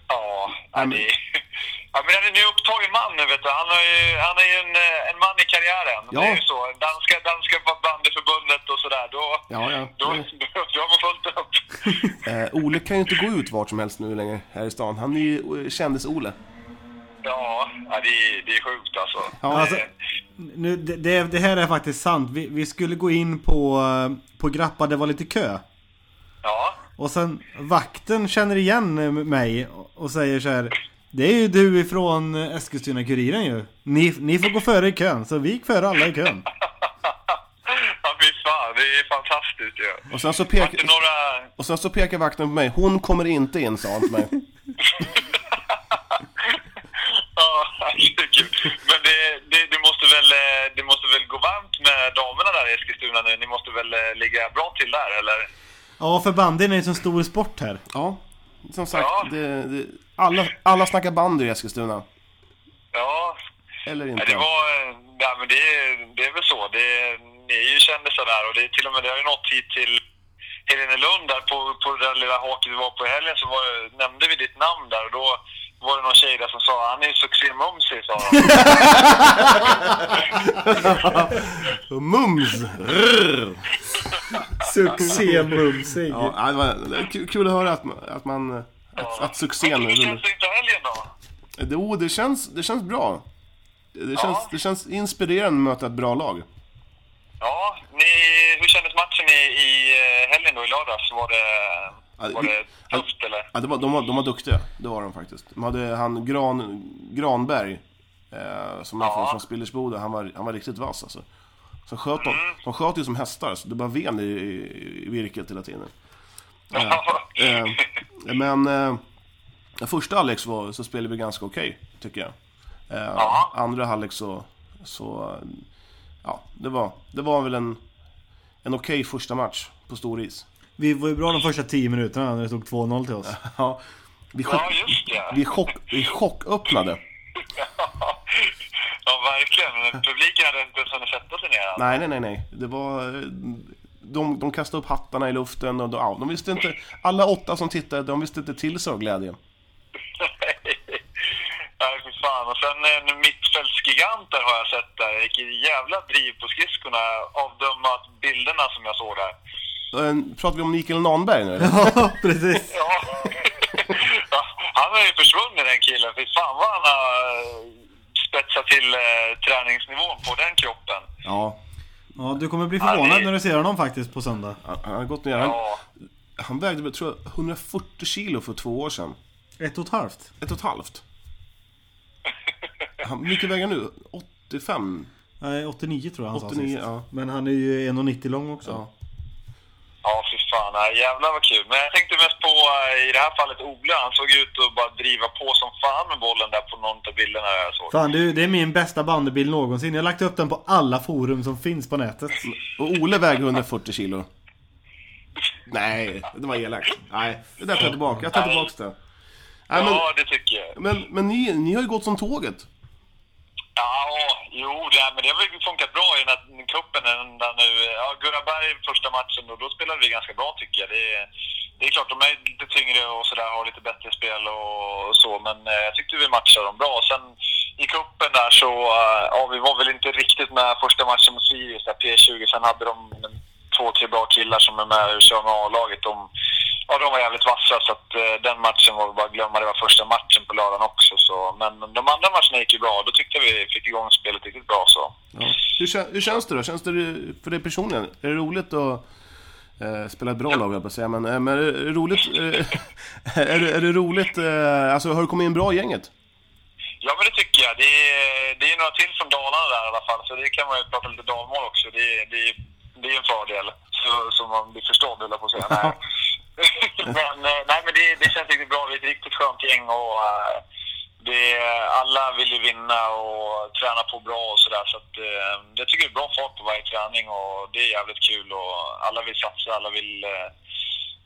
Ja. ja, det, ja men han är nu upptagen man nu vet du. Han, har ju, han är ju en, eh, en man i karriären. Ja. Det är ju så. Danska, danska bandyförbundet och sådär. Då, Ja, ja. då, då, då har man fullt upp. Eh, Ole kan ju inte gå ut vart som helst nu längre här i stan. Han är ju eh, kändis-Ole. Ja, ja det, är- det är sjukt alltså. Ja, alltså- Det- Nu, det, det, det här är faktiskt sant. Vi, vi skulle gå in på, eh, på Grappa, det var lite kö. ja. Och sen vakten känner igen eh, mig och säger så här. Det är ju du ifrån Eskilstuna-Kuriren ju. Ni, ni får gå före i kön. Så vi gick före alla i kön. ja, fy fan. Det är fantastiskt ju. Och sen så, Vart pek, det några... och sen så pekar vakten på mig. Hon kommer inte in, sa han till mig. Ja, det är kul. Men det, det, det, måste väl, eh, det måste väl gå varmt med damerna där i Eskilstuna nu? Ni måste väl eh, ligga bra till där, eller? Ja, för bandyn är ju en sån stor sport här. Ja, som sagt. Ja. Det, det, alla, alla snackar bandy i Eskilstuna. Ja, Eller ja, inte. det var... eh, Ja, men det, är- det är väl så. Det, ni är ju kändisar där och det, är till och med, det har ju nått hit till Helene Lund där på, på det där lilla haket vi var på i helgen så var, det- nämnde vi ditt namn där och då var det någon tjej där som sa han är ju succémumsig, sa hon. Mums! Rrr. Succé-mumsig. Ja, nej, det var det var kul- kul att höra att, man- att man... Att, att succén... Men hur känns det inte helgen då? Det, oh, det, känns, det känns bra. Det känns, det känns inspirerande att möta ett bra lag. Ja, ni, hur kändes matchen i, i eh, helgen då, i lördags? Var det, Ja, var vi- det tufft eller? Ja, det var, de, var, de var duktiga, det var de faktiskt. De hade han Gran, Granberg, eh, som är Ja. från, från Spillersboda, han var, han var riktigt vass alltså. Så sköt de, de sköt ju som hästar, så det bara ven i, i, i virket hela tiden. Eh, men eh, den första halvlek så, så spelade vi ganska okej, tycker jag. Eh, Ja. Andra halvlek så, så eh, ja, det var, det var väl en, en okej första match på stor is. Vi var ju bra de första 10 minuterna när det stod 2-0 till oss. Ja, vi, chock, Ja, just det. vi, chock, vi chocköppnade. Ja, verkligen. verkligen. Publiken hade inte ens hunnit sätta sig ner än. Nej, nej, nej, nej. Det var... eh, De, de kastade upp hattarna i luften och de, ja, de visste inte... Alla åtta som tittade, de visste inte till sig av glädjen. Nej, för fan. Och sen en mittfältsgigant där har jag sett där. Vilket jävla driv på skridskorna. Avdömat bilderna som jag såg där. Eh, Pratar vi om Mikael Nanberg nu eller? Ja, precis. Ja. Ja, han är ju försvunnen den killen. Fy fan vad han har eh, spetsat till eh, träningsnivån på den kroppen. Ja, Ja, du kommer bli förvånad när du ser honom faktiskt på söndag. han, han har gått ner. Han, Ja. han vägde väl, tror jag, 140 kilo för två år sedan. Ett och ett halvt. Ett och ett halvt. Han, mycket väger nu? 85? Nej, 89 tror jag han 89, sa ja. sist. Men han är ju 1,90 lång också. Ja. Ja, fy fan. Nej, jävlar vad kul. Men jag tänkte mest på, eh, i det här fallet, Ola. Han såg ut att bara driva på som fan med bollen där på någon av bilderna jag såg. Fan du, det är min bästa bandybil någonsin. Jag har lagt upp den på alla forum som finns på nätet. Och Ole väger 140 kilo. Nej, det var elakt. Nej, det där tar jag tillbaka. Jag tar tillbaka det. Nej, men, Ja, det tycker jag. men, men ni, ni har ju gått som tåget. Ja, jo, det, men det har väl funkat bra i den här cupen. ända nu. Ja, Gunnar Berg första matchen, då, då spelade vi ganska bra tycker jag. Det, det är klart, de är lite tyngre och sådär, har lite bättre spel och, och så, men eh, jag tyckte vi matchade dem bra. Sen i cupen där så, eh, ja, vi var väl inte riktigt med första matchen mot Sirius, där P20. Sen hade de två, tre bra killar som är med och kör med A-laget. De, ja, de var jävligt vassa, så att, eh, den matchen var väl bara att glömma. Det var första matchen på lördagen också. Så. Men de andra matcherna gick ju bra. Då tyckte jag vi fick igång spelet riktigt bra. Så. Ja. Hur, kän- hur känns det då? Känns det för dig personligen? Är det roligt att eh, spela ett bra lag, höll jag på att säga, men, eh, men är det roligt? Eh, är, det, är det roligt? Eh, alltså, har du kommit in bra i gänget? Ja, men det tycker jag. Det är, det är några till från Dalarna där i alla fall, så det kan man ju prata lite dalmål också. Det, är- det, är- det är en fördel, så, så man blir förstådd, höll jag på att säga. Nej. men eh, nej, men det, det känns riktigt bra. Vi är ett riktigt skönt gäng och eh, det, alla vill ju vinna och träna på bra och sådär. Så att, eh, jag tycker det är bra fart på varje träning och det är jävligt kul och alla vill satsa, alla vill eh,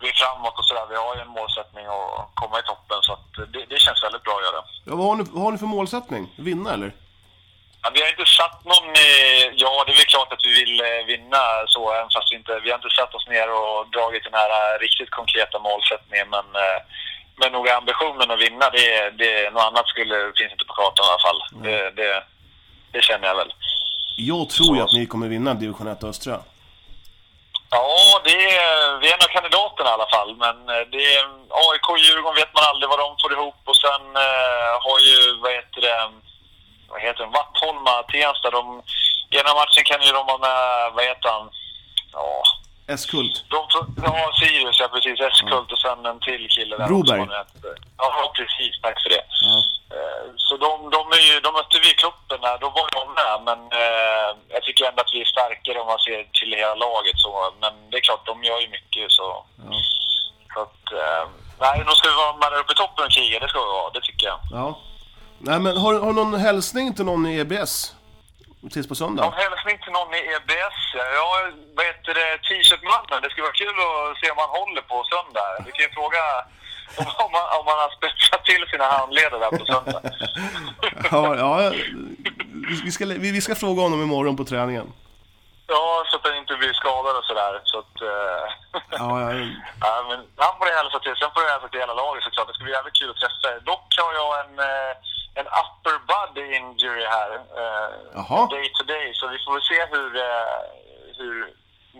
vi är framåt och sådär. Vi har ju en målsättning att komma i toppen så att det, det känns väldigt bra att göra. Ja, vad, har ni, vad har ni för målsättning? Vinna, eller? Ja, vi har inte satt någon... eh, Ja, det är väl klart att vi vill eh, vinna så, även fast vi inte... Vi har inte satt oss ner och dragit den här eh, riktigt konkreta målsättningen, men... eh, Men nog är ambitionen att vinna, det, det, något annat skulle, finns inte på kartan i alla fall. Det, det, det känner jag väl. Jag tror ju att ni kommer vinna Division 1 Östra. Ja, det, är- vi är en av kandidaterna i alla fall. Men eh, det, är- AIK och Djurgården vet man aldrig vad de får ihop. Och sen eh, har ju, vad heter det, vad heter de, Vattholma, Tensta. De, ena matchen kan ju de ha med, vad heter han, ja, S-Kult. de, får- ja Sirius, ja precis, Eskult och sen en till kille där. Broberg. också, vad han heter. Ja, precis, tack för det. Eh, Så de, de, är ju, de mötte vi i cupen, där, då var de med. Men eh, jag tycker ändå att vi är starkare om man ser till hela laget. Så, men det är klart, de gör ju mycket. Så, så att, eh, nej, då ska vi vara med där uppe i toppen och kriga. Det ska vi vara, det tycker jag. Ja. Nej, men har, har du någon hälsning till någon i EBS? Tills på Ja. söndag? Hälsning till någon i EBS. ja. Ja, vad heter det, t-shirtmannen. Det skulle vara kul att se om han håller på söndag. Vi kan ju fråga om, om, han, om han har spetsat till sina handleder där på söndag. Ja, ja vi, ska, vi, vi ska fråga honom imorgon på träningen. Ja, så att han inte blir skadad och sådär. Så att, eh, Ja, ja, ja, men han får jag hälsa till. Sen får jag hälsa till hela laget såklart. Det ska bli jävligt kul att träffa er. Dock har jag en, eh, en upper body injury här. eh, Jaha. Day to day. Så vi får väl se hur, eh, hur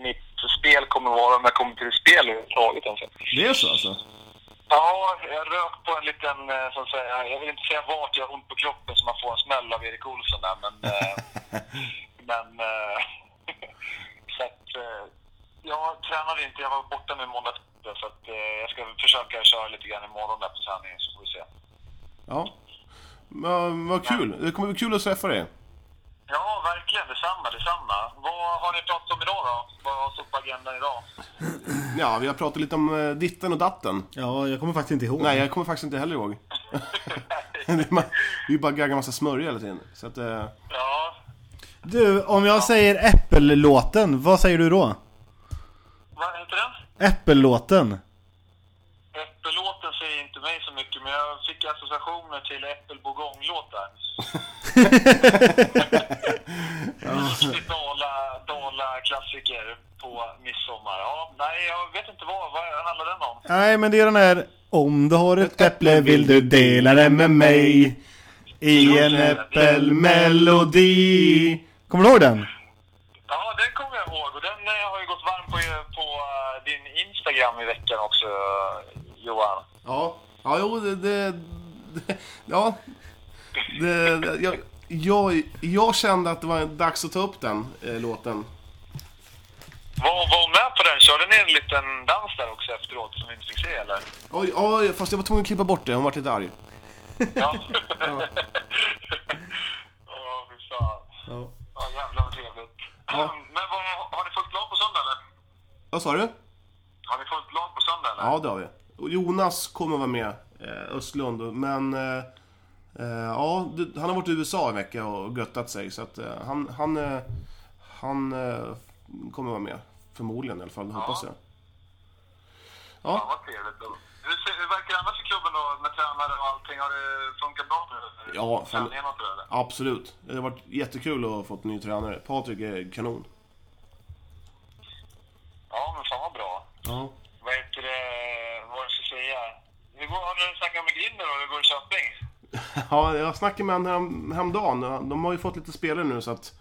mitt spel kommer att vara om jag kommer till spel överhuvudtaget. ens. det är så alltså? Ja, jag rök på en liten, eh, så att säga, jag vill inte säga vart jag har ont på kroppen så man får en smäll av Erik Olsson där, men... eh, men... eh, så att, eh, jag tränade inte, jag var borta nu i måndag så att eh, jag ska försöka köra lite grann imorgon där på träningen så får vi se. Ja. Men, vad kul. Det kommer bli kul att träffa dig. Ja, verkligen. Detsamma, detsamma. Vad har ni pratat om idag då? Vad står på agendan idag? Ja, vi har pratat lite om eh, ditten och datten. Ja, jag kommer faktiskt inte ihåg. Nej, jag kommer faktiskt inte heller ihåg. det är ma- vi bara gaggar massa smörja hela tiden. Så att, eh, Ja, Du, om jag säger äppellåten, vad säger du då? vad heter den? Äppellåten. Äppellåten säger inte mig så mycket, men jag fick alltså illustrationer till Apple Bogong-låtar. Riktigt dala, dala klassiker på midsommar. Ja, nej, jag vet inte vad. Vad handlar den om? Nej, men det är den här. Om du har ett äpple vill du dela det med mig. I en äppelmelodi. Kommer du ihåg den? Ja, den kommer jag ihåg. Och den eh, har ju gått varm på, på eh, din Instagram i veckan också, eh, Johan. Ja, ja jo, det... det, det ja. Det, det, jag, jag, jag kände att det var dags att ta upp den eh, låten. Var, var hon med på den? Körde ni en liten dans där också efteråt som vi inte fick se, eller? Oj, oj, fast jag var tvungen att klippa bort det. Hon vart lite arg. Ja. Åh, fy fan. Ja. Ja, jävlar vad trevligt. Men vad, har ni fullt lag på söndag, eller? Vad sa du? Har ni fullt lag på söndag, eller? Ja, det har vi. Och Jonas kommer vara med, eh, Östlund. Men eh, eh, ja, det, han har varit i USA en vecka och göttat sig. Så att eh, han, han, eh, han eh, kommer vara med. Förmodligen i alla fall, hoppas jag. Fan, vad trevligt. då. Hur, ser, hur verkar det annars i klubben då, med tränare och allting? Har det funkat bra nu? Ja, fan. Träningen och sådär, eller? Absolut. Det har varit jättekul att ha fått en ny tränare. Patrik är kanon. Ja, men fan vad bra. Ja. Vad heter det, vad ska jag säga? Hur går, har du snackat med Grinder då? Hur går det i Köping? Ja, jag snackade med honom härom, häromdagen. De har ju fått lite spelare nu så att...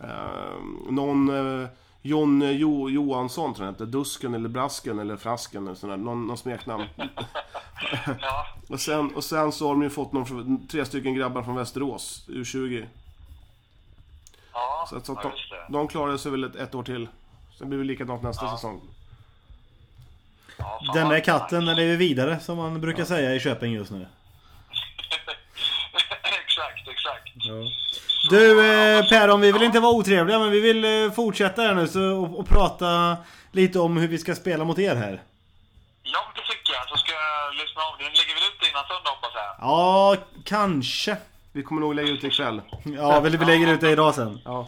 Eh, någon... Eh, John jo, Johansson tror jag han hette. Dusken eller Brasken eller Frasken eller sådär. Någon, någon smeknamn. Ja, och, sen, och sen så har de ju fått någon, från- tre stycken grabbar från Västerås. U20. ja, Så, att- så att ja de, just det. de klarade sig väl ett, ett år till. Sen blir det likadant nästa säsong. Ja, fan, Den där vad- katten den lever vidare som man brukar säga i Köping just nu. exakt, exakt. Du eh, Per, om vi vill inte vara otrevliga men vi vill eh, fortsätta här nu så, och, och prata lite om hur vi ska spela mot er här. Ja, men det tycker jag. Så ska jag lyssna av. Den lägger väl ut det innan söndag hoppas jag. Ja, kanske. Vi kommer nog lägga ut det ikväll. Ja, väl vi lägger ut det idag sen. Ja.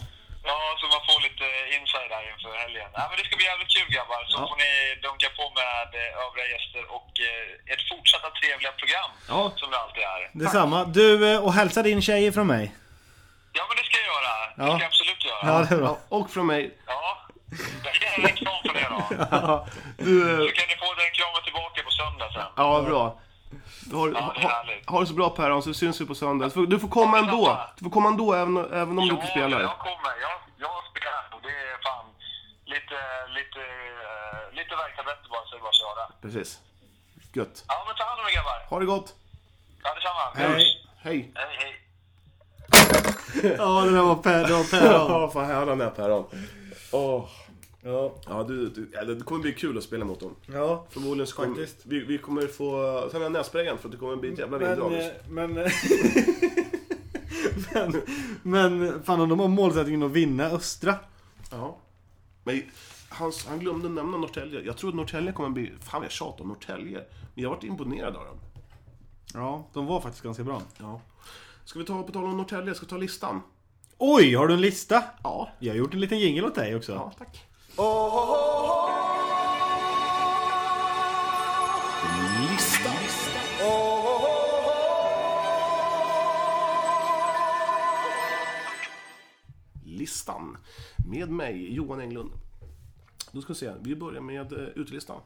Ja, så man får lite insight där inför helgen. Ja, men det ska bli jävligt kul grabbar. Så får ni dunka på med eh, övriga gäster och eh, ert fortsatta trevliga program. Ja. Som det alltid är. Detsamma. Du, eh, och hälsa din tjej från mig. Ja, men det ska jag göra. Det Ja. ska jag absolut göra. Ja, det är bra. Ja, och från mig. Ja. Jag kan göra reklam för det då. Du, eh, Så kan ni få den kramen tillbaka på söndag sen. Ja, bra. Du har, Ja, det är ha, härligt. ha det så bra Per, så syns vi på söndag. Du får, du får komma ändå. Du får komma ändå även, även om du inte spelar. jag kommer. Jag, jag spelar. Och det är fan lite, lite, eh, lite värktabletter bara så det är bara att köra. Precis. Gött. Ja, men ta hand om er grabbar. Ha det gott. Ja, detsamma. Hej. Hej. Hej, hej. Ja, det där var Per. Det var Per. Ja, fan här har den där Päron. Åh. Ja, ja du, du, ja, det kommer bli kul att spela mot dem. Ja. Förmodligen så kommer Faktiskt. vi, vi kommer få... Sen har jag nässprayen för att det kommer bli ett jävla Men, vinddrag. eh, men, men, men fan om de har målsättningen att vinna Östra. Ja. Men han, han glömde nämna Norrtälje. Jag tror att Norrtälje kommer bli... Fan jag tjatar om Norrtälje. Men jag har varit imponerad av dem. Ja, de var faktiskt ganska bra. Ja. Ska vi ta, på tal om Norrtälje, ska vi ta listan? Oj, har du en lista? Ja. Jag har gjort en liten jingle åt dig också. Ja, tack. Listan. Med mig, Johan Englund. Då ska vi se, vi börjar med eh, utelistan.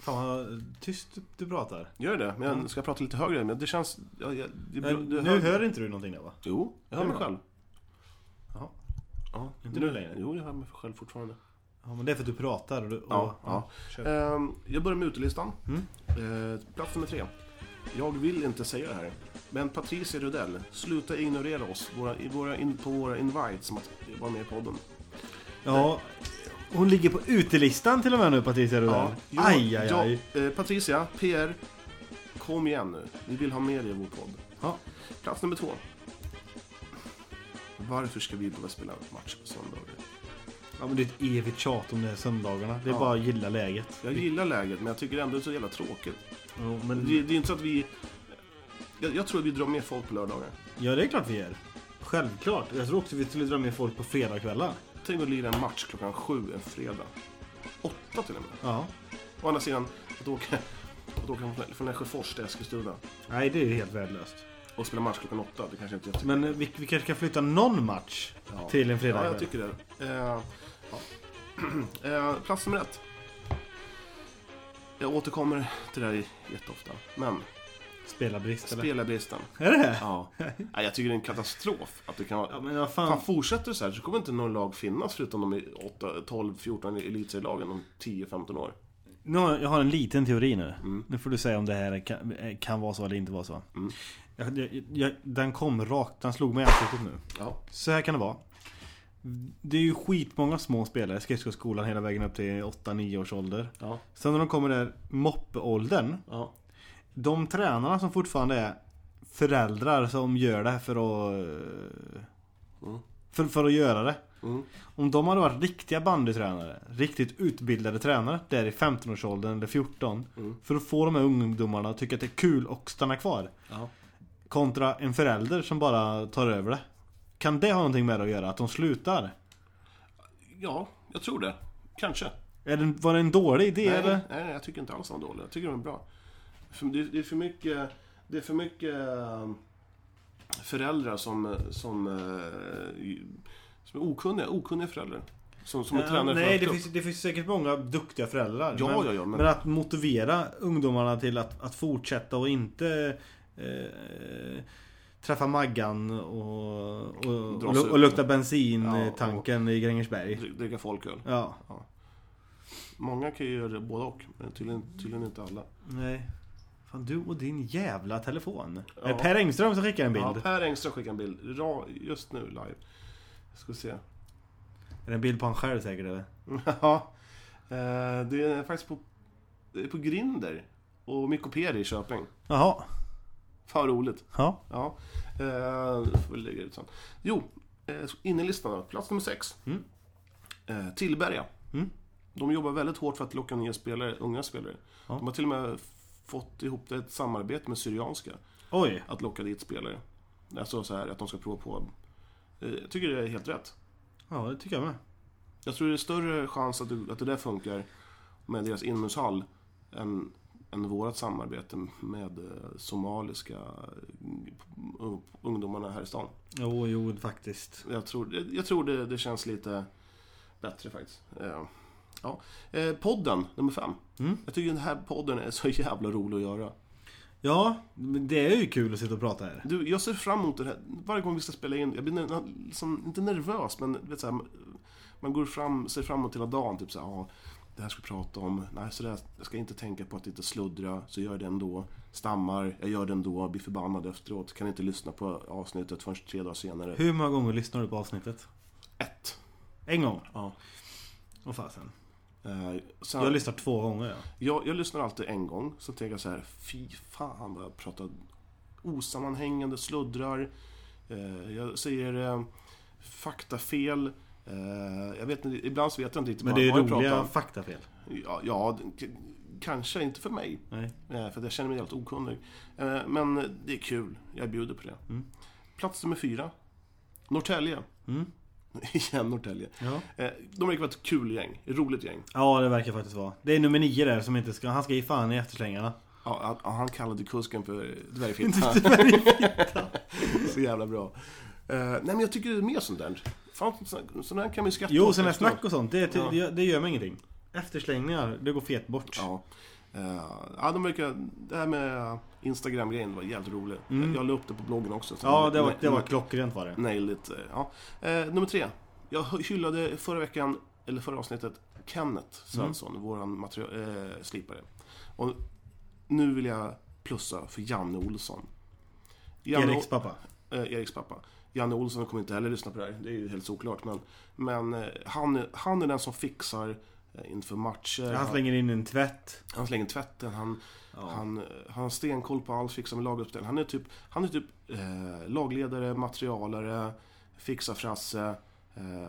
Fan vad tyst du pratar. Gör det? Men jag ska prata lite högre, men det känns... Ja, jag, det, Men det- nu hör inte du någonting där va? Jo, jag hör mig Ja. själv. Jaha. Ja, Inte nu- nu längre? Jo, jag hör mig själv fortfarande. Ja, men det är för att du pratar. Och du, och, Ja, ja. kör. Mm. Ehm, jag börjar med utelistan. Eh, plats nummer tre. Jag vill inte säga det här, men Patricia Rudell, sluta ignorera oss våra, i våra in, på våra invites som att vara med i podden. Ja, hon ligger på utelistan till och med nu Patricia Rudell. jag- aj, aj, aj. jag- eh, Patricia, PR, kom igen nu. Vi vill ha med dig i vår podd. Ja. Plats nummer två. Varför ska vi behöva spela match på söndagar? ja, men det är ett evigt tjat om det här söndagarna. Det är Ja. bara att gilla läget. Jag gillar läget, men jag tycker ändå det är så jävla tråkigt. Jo, men Det, det är inte så att vi... Jag, jag tror att vi drar med folk på lördagar. Ja, det är klart vi gör. Självklart. Jag tror också vi skulle dra med folk på fredagskvällar. Tänk att lira en match klockan sju en fredag. Åtta till och med. Ja. Å andra sidan, att åka, att åka från- från Lesjöfors till Eskilstuna Nej, det är ju helt värdelöst. och spela match klockan åtta. Det kanske inte är jättekul. Men eh, vi, vi kanske kan flytta någon match Ja. till en Ja, fredag. jag tycker det. Eh, ja. eh, plats nummer ett. Jag återkommer till det här jätteofta. Men Spelarbrist eller? spelarbristen. Är det det? Ja. Nej, jag tycker det är en katastrof att det kan vara... Ja, men vad Fan, fan. fortsätter det så här så kommer inte någon lag finnas förutom de i 8, 12, 14 elitserielagen om 10-15 år. Nu har, jag har en liten teori nu. Nu får du säga om det här kan, eh, kan vara så eller inte vara så. Jag, jag, jag, den kom rakt, den slog mig i ansiktet nu. Ja. Så här kan det vara. Det är ju skitmånga små spelare, skridskoskolan hela vägen upp till 8-9 års ålder. Ja. Sen när de kommer där moppeåldern. Ja. De tränarna som fortfarande är föräldrar som gör det här för att... Mm. För, för att göra det. Om de hade varit riktiga bandytränare, riktigt utbildade tränare där i 15-årsåldern eller 14. Mm. För att få de här ungdomarna att tycka att det är kul och stanna kvar. Ja. Kontra en förälder som bara tar över det. Kan det ha någonting med det att göra? Att de slutar? Ja, jag tror det. Kanske. Är det, var det en dålig idé Nej, eller? nej, nej, jag tycker inte alls de är dåliga. Jag tycker de är bra. För- Det är, det är för mycket... Det är för mycket eh, föräldrar som... Som, eh, i- som är okunniga. Okunniga föräldrar. Som, som är tränare nej, för det en finns, klubb. det finns säkert många duktiga föräldrar. Ja, men, ja, ja, men... men- att motivera ungdomarna till att, att fortsätta och inte eh, träffa Maggan och, och, Dra och, sig lu- och ut. lukta Ja, och- bensintanken i Grängesberg. Dri- Dricka folköl. Ja, Många kan ju göra både och. Men tydligen, tydligen inte alla. nej. Fan, du och din jävla telefon. Ja. Är det Per Engström som skickar en bild? Ja, per Engström skickar en bild. Ra- Just nu live. Jag ska se. Är det en bild på han själv säkert eller? Ja, eh, det är faktiskt på, det är på Grinder och Mykoperi i Köping. Jaha. Fan vad roligt. Ja. Ja, eh, får vi lägga ut sen. Jo, eh, innerlistan då. Plats nummer sex. Eh, Tillberga. De jobbar väldigt hårt för att locka nya spelare, unga spelare. De har till och med fått ihop ett samarbete med Syrianska. Oj. Att locka dit spelare. Alltså så här att de ska prova på. Eh, jag tycker det är helt rätt. Ja, det tycker jag med. Jag tror det är större chans att, du, att det där funkar med deras inomhushall än, än vårt samarbete med eh, somaliska eh, u- ungdomarna här i stan. Jo, jo faktiskt. Jag tror, jag- jag tror det, det känns lite bättre faktiskt. Eh, Ja. Eh, Podden, nummer fem. Jag tycker den här podden är så jävla rolig att göra. Ja, men det är ju kul att sitta och prata här. Du, jag ser fram emot det här. Varje gång vi ska spela in, jag blir nä- nä- liksom, inte nervös, men du vet, så här, man går fram, ser fram emot hela dagen. Typ så här, ah, det här ska vi prata om. Nej, så där, jag ska inte tänka på att inte sluddra, så gör jag det ändå. Stammar, jag gör det ändå, blir förbannad efteråt. Kan inte lyssna på avsnittet förrän tre dagar senare. Hur många gånger lyssnar du på avsnittet? Ett. En gång? Ja. Och fasen. Eh, sen, Jag jag, lyssnar två gånger ja. jag, lyssnar alltid en gång, så tänker jag så här, fy fan vad jag pratar osammanhängande, sluddrar. Eh, jag säger eh, faktafel. Eh, jag vet inte, ibland så vet jag inte riktigt Men vad- det är vad jag pratar roliga om. faktafel. Ja, ja det- k- kanske inte för mig. Nej. Eh, för att jag känner mig helt okunnig. Eh, men det är kul, jag bjuder på det. Mm. Plats nummer fyra. Norrtälje. Igen Norrtälje. Mm. Ja. Eh, de verkar vara ett kul gäng, ett roligt gäng. ja, det verkar faktiskt vara. Det är nummer nio där som inte ska... Han ska ge fan i efterslängarna. Ja, han- ja, han kallade kusken för dvärgfitta. så jävla bra. Eh, nej, men jag tycker det är mer sånt där. Fan, så- sånt där kan man ju skratta Jo, åt sådana här efteråt. snack och sånt. Det, det, det gör mig ingenting. Efterslängningar, det går fet bort. Ja. Eh, ja, de verkar... Det här med Instagram-grejen var jävligt roligt. Jag, jag la upp det på bloggen också. så Mm. Ja, de- det var, na- det var na- klockrent var det. Nailed it. eh, Ja. Eh, nummer tre. Jag hyllade förra veckan, eller förra avsnittet, Kenneth Svensson, våran materi- eh, slipare. Och nu vill jag plussa för Janne Olsson. Janne- Eriks pappa. eh, Eriks pappa. Janne Olsson kommer inte heller lyssna på det här, det är ju helt såklart. Men, men eh, han, är- han är den som fixar eh, inför matcher. Han slänger in en tvätt. han slänger tvätten, han, han, eh, han har stenkoll på allt, fixar med laguppställning. Han är typ, han är typ eh, lagledare, materialare, fixar frasse. Eh,